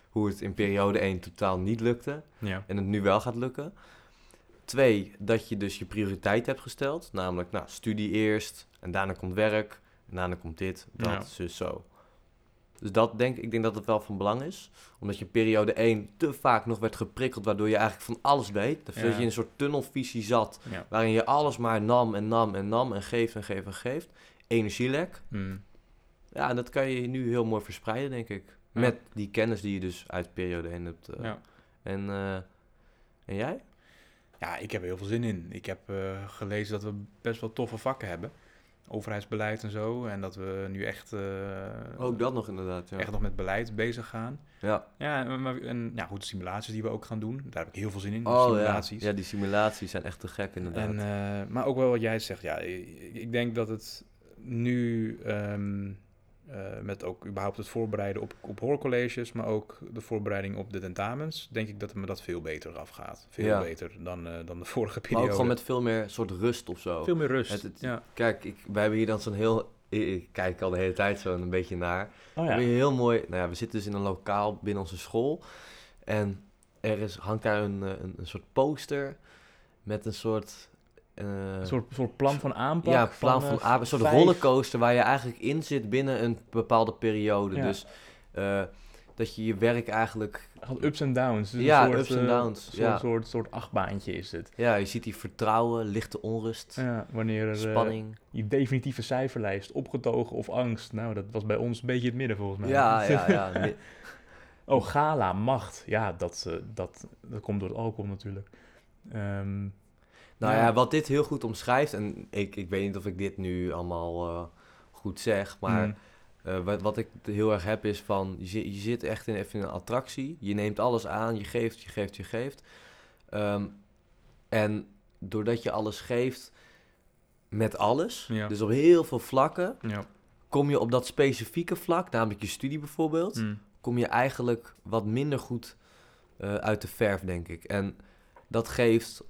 Speaker 2: hoe het in periode 1 totaal niet lukte
Speaker 1: ja.
Speaker 2: en het nu wel gaat lukken. Twee, dat je dus je prioriteit hebt gesteld. Namelijk, nou, studie eerst en daarna komt werk. En daarna komt dit, dat,
Speaker 1: Ja.
Speaker 2: zus, zo. Dus dat denk, ik denk dat het wel van belang is. Omdat je periode 1 te vaak nog werd geprikkeld, waardoor je eigenlijk van alles weet. Dus
Speaker 1: Ja.
Speaker 2: dat je in een soort tunnelvisie zat,
Speaker 1: Ja.
Speaker 2: waarin je alles maar nam en nam en nam en geeft en geeft en geeft. Energielek.
Speaker 1: Mm.
Speaker 2: Ja, en dat kan je nu heel mooi verspreiden, denk ik.
Speaker 1: Ja.
Speaker 2: Met die kennis die je dus uit periode 1 hebt. eh.
Speaker 1: Ja.
Speaker 2: En, eh, en jij?
Speaker 1: Ja, ik heb er heel veel zin in. Ik heb eh, gelezen dat we best wel toffe vakken hebben. overheidsbeleid en zo. En dat we nu echt, eh,
Speaker 2: Ook Oh, dat nog inderdaad, ja.
Speaker 1: echt nog met beleid bezig gaan.
Speaker 2: ja.
Speaker 1: Ja, en- maar, en ja, goed, de simulaties die we ook gaan doen. Daar heb ik heel veel zin in, de
Speaker 2: Oh ja.
Speaker 1: simulaties.
Speaker 2: ja, die simulaties zijn echt te gek inderdaad.
Speaker 1: En, eh, maar ook wel wat jij zegt, ja, ik, ik denk dat het nu ehm, eh, met ook überhaupt het voorbereiden op, op hoorcolleges, maar ook de voorbereiding op de tentamens, denk ik dat me dat veel beter afgaat. Veel
Speaker 2: Ja.
Speaker 1: beter dan, eh, dan de vorige
Speaker 2: maar ook
Speaker 1: periode.
Speaker 2: gewoon met veel meer soort rust of zo.
Speaker 1: Veel meer rust.
Speaker 2: Het- het-
Speaker 1: ja.
Speaker 2: Kijk, ik, wij hebben hier dan zo'n heel... Ik, ik kijk al de hele tijd zo een beetje naar.
Speaker 1: Oh,
Speaker 2: We hebben hier heel mooi... Nou ja, we zitten dus in een lokaal binnen onze school. En er is, hangt daar een, eh, een, een soort poster met een soort... eh,
Speaker 1: Een soort, soort plan van aanpak.
Speaker 2: ja, plan van,
Speaker 1: eh,
Speaker 2: A- een soort
Speaker 1: vijf-
Speaker 2: rollercoaster waar je eigenlijk in zit binnen een bepaalde periode.
Speaker 1: Ja.
Speaker 2: Dus eh, dat je je werk eigenlijk...
Speaker 1: Had ups en downs. Dus
Speaker 2: Ja,
Speaker 1: een soort,
Speaker 2: ups en
Speaker 1: eh,
Speaker 2: downs,
Speaker 1: Soort,
Speaker 2: ja.
Speaker 1: soort, soort achtbaantje is het.
Speaker 2: Ja, je ziet die vertrouwen, lichte onrust,
Speaker 1: Ja, wanneer er, eh,
Speaker 2: spanning.
Speaker 1: je definitieve cijferlijst, opgetogen of angst. Nou, dat was bij ons een beetje het midden volgens mij.
Speaker 2: Ja, ja, ja. Nee,
Speaker 1: Oh, gala, macht. Ja, dat, eh, dat, dat komt door het alcohol natuurlijk. Ehm,
Speaker 2: Nou
Speaker 1: Ja.
Speaker 2: ja. wat dit heel goed omschrijft, en ik, ik weet niet of ik dit nu allemaal eh, goed zeg, maar
Speaker 1: mm,
Speaker 2: eh, wat, wat ik heel erg heb is van, je, zit- je zit echt in, even in een attractie, je neemt alles aan, je geeft, je geeft, je geeft. Ehm, en doordat je alles geeft met alles,
Speaker 1: Ja.
Speaker 2: dus op heel veel vlakken,
Speaker 1: ja.
Speaker 2: kom je op dat specifieke vlak, namelijk je studie bijvoorbeeld,
Speaker 1: mm.
Speaker 2: kom je eigenlijk wat minder goed eh, uit de verf, denk ik. En dat geeft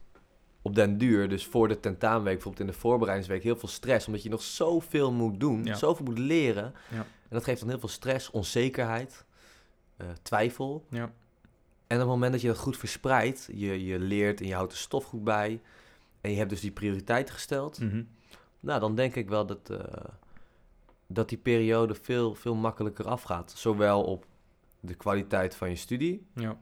Speaker 2: op den duur, dus voor de tentamenweek, bijvoorbeeld in de voorbereidingsweek, heel veel stress. Omdat je nog zoveel moet doen,
Speaker 1: Ja.
Speaker 2: zoveel moet leren.
Speaker 1: Ja.
Speaker 2: En dat geeft dan heel veel stress, onzekerheid, eh, twijfel.
Speaker 1: Ja.
Speaker 2: En op het moment dat je dat goed verspreidt, je, je leert en je houdt de stof goed bij. En je hebt dus die prioriteit gesteld.
Speaker 1: mhm.
Speaker 2: Nou, dan denk ik wel dat, eh, dat die periode veel, veel makkelijker afgaat. Zowel op de kwaliteit van je studie
Speaker 1: ja.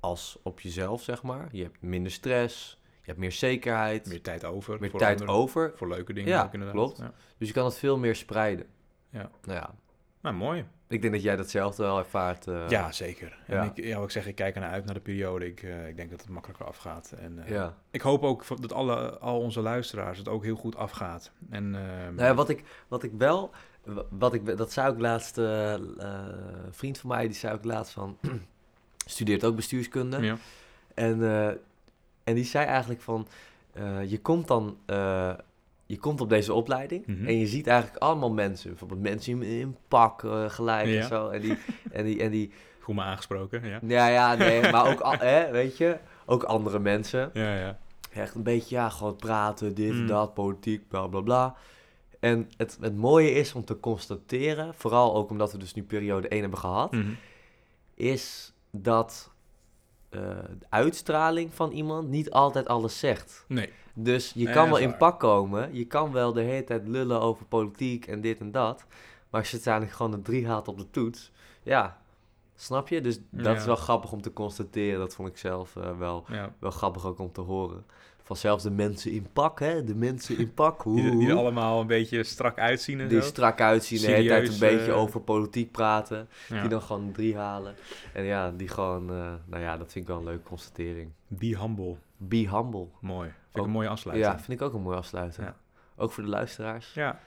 Speaker 2: als op jezelf, zeg maar. Je hebt minder stress, je hebt meer zekerheid, meer,
Speaker 1: Meer tijd over. voor
Speaker 2: tijd
Speaker 1: anderen.
Speaker 2: over.
Speaker 1: Voor leuke dingen
Speaker 2: Ja,
Speaker 1: ook inderdaad.
Speaker 2: klopt.
Speaker 1: Ja.
Speaker 2: Dus je kan het veel meer spreiden.
Speaker 1: Ja.
Speaker 2: Nou ja,
Speaker 1: Nou, mooi.
Speaker 2: ik denk dat jij datzelfde wel ervaart. eh,
Speaker 1: ja, zeker. En
Speaker 2: ja.
Speaker 1: Ik, ja, wat ik zeg, ik kijk ernaar uit naar de periode. Ik, eh, ik denk dat het makkelijker afgaat. En, eh,
Speaker 2: ja.
Speaker 1: Ik hoop ook dat alle, al onze luisteraars het ook heel goed afgaat. En, ehm,
Speaker 2: Nou ja, wat ik, wat ik wel, wat ik, dat zei ook laatst, eh, eh, een vriend van mij, die zei ook laatst van, studeert ook bestuurskunde.
Speaker 1: ja.
Speaker 2: En, eh, en die zei eigenlijk van, eh, je komt dan, eh, je komt op deze opleiding
Speaker 1: Mhm.
Speaker 2: en je ziet eigenlijk allemaal mensen. Bijvoorbeeld mensen in, in pak eh, gelijk
Speaker 1: Ja.
Speaker 2: en zo. En die, en die, en die
Speaker 1: Goed me aangesproken, ja.
Speaker 2: ja, ja, nee, maar ook, al, hè, weet je, ook andere mensen.
Speaker 1: Ja, ja.
Speaker 2: Echt een beetje, ja, gewoon praten, dit,
Speaker 1: Mm.
Speaker 2: dat, politiek, bla, bla, bla. En het, het mooie is om te constateren, vooral ook omdat we dus nu periode 1 hebben gehad,
Speaker 1: Mhm.
Speaker 2: is dat eh, de uitstraling van iemand niet altijd alles zegt.
Speaker 1: Nee.
Speaker 2: Dus je
Speaker 1: Nee,
Speaker 2: kan
Speaker 1: dat
Speaker 2: wel
Speaker 1: is
Speaker 2: in
Speaker 1: waar.
Speaker 2: pak komen, je kan wel de hele tijd lullen over politiek en dit en dat. Maar als je uiteindelijk gewoon een drie haalt op de toets, ja, snap je? Dus dat
Speaker 1: Ja.
Speaker 2: is wel grappig om te constateren. Dat vond ik zelf eh, wel,
Speaker 1: Ja.
Speaker 2: wel grappig ook om te horen. Van zelfs de mensen in pak, hè? De mensen in pak, hoe?
Speaker 1: Die, die er
Speaker 2: hoe-
Speaker 1: allemaal een beetje strak uitzien en
Speaker 2: die
Speaker 1: zo.
Speaker 2: strak uitzien, de hele tijd een
Speaker 1: Serieus,
Speaker 2: beetje
Speaker 1: eh,
Speaker 2: over politiek praten.
Speaker 1: Ja.
Speaker 2: Die dan gewoon een drie halen. En ja, die gewoon, eh, nou ja, dat vind ik wel een leuke constatering.
Speaker 1: Be humble.
Speaker 2: Be humble.
Speaker 1: Mooi. Vind ik
Speaker 2: Ook-
Speaker 1: een mooie
Speaker 2: Oh, Ja,
Speaker 1: afsluiting.
Speaker 2: vind ik ook een mooi afsluiten.
Speaker 1: Ja.
Speaker 2: Ook voor de luisteraars.
Speaker 1: Ja,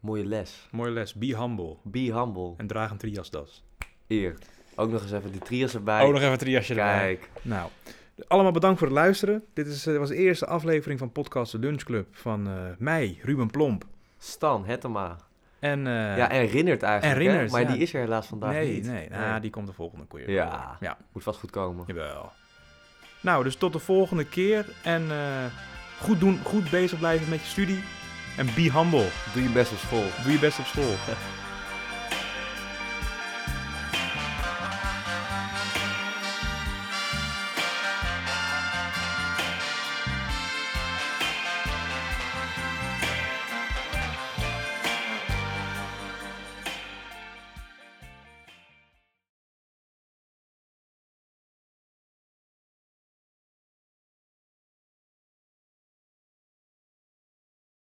Speaker 2: Mooie les.
Speaker 1: mooie les. Be humble.
Speaker 2: Be humble.
Speaker 1: En draag een triasdas.
Speaker 2: Hier. Ook nog eens even die trias erbij.
Speaker 1: Oh, nog even een triasje erbij.
Speaker 2: Kijk.
Speaker 1: Nou, allemaal bedankt voor het luisteren. Dit is, eh, was de eerste aflevering van podcast De Lunch Club van eh, mij, Ruben Plomp.
Speaker 2: Stan Hettema.
Speaker 1: En eh,
Speaker 2: ja, en Rinnert eigenlijk.
Speaker 1: en
Speaker 2: hè?
Speaker 1: Rinnert,
Speaker 2: Maar
Speaker 1: ja.
Speaker 2: die is er helaas vandaag
Speaker 1: nee,
Speaker 2: niet.
Speaker 1: nee, nou, die komt de volgende keer.
Speaker 2: Ja.
Speaker 1: Ja,
Speaker 2: Moet vast goed komen.
Speaker 1: jawel. Nou, dus tot de volgende keer. En eh, goed, doen, goed bezig blijven met je studie. En be humble.
Speaker 2: Doe je best op school.
Speaker 1: Doe je best op school.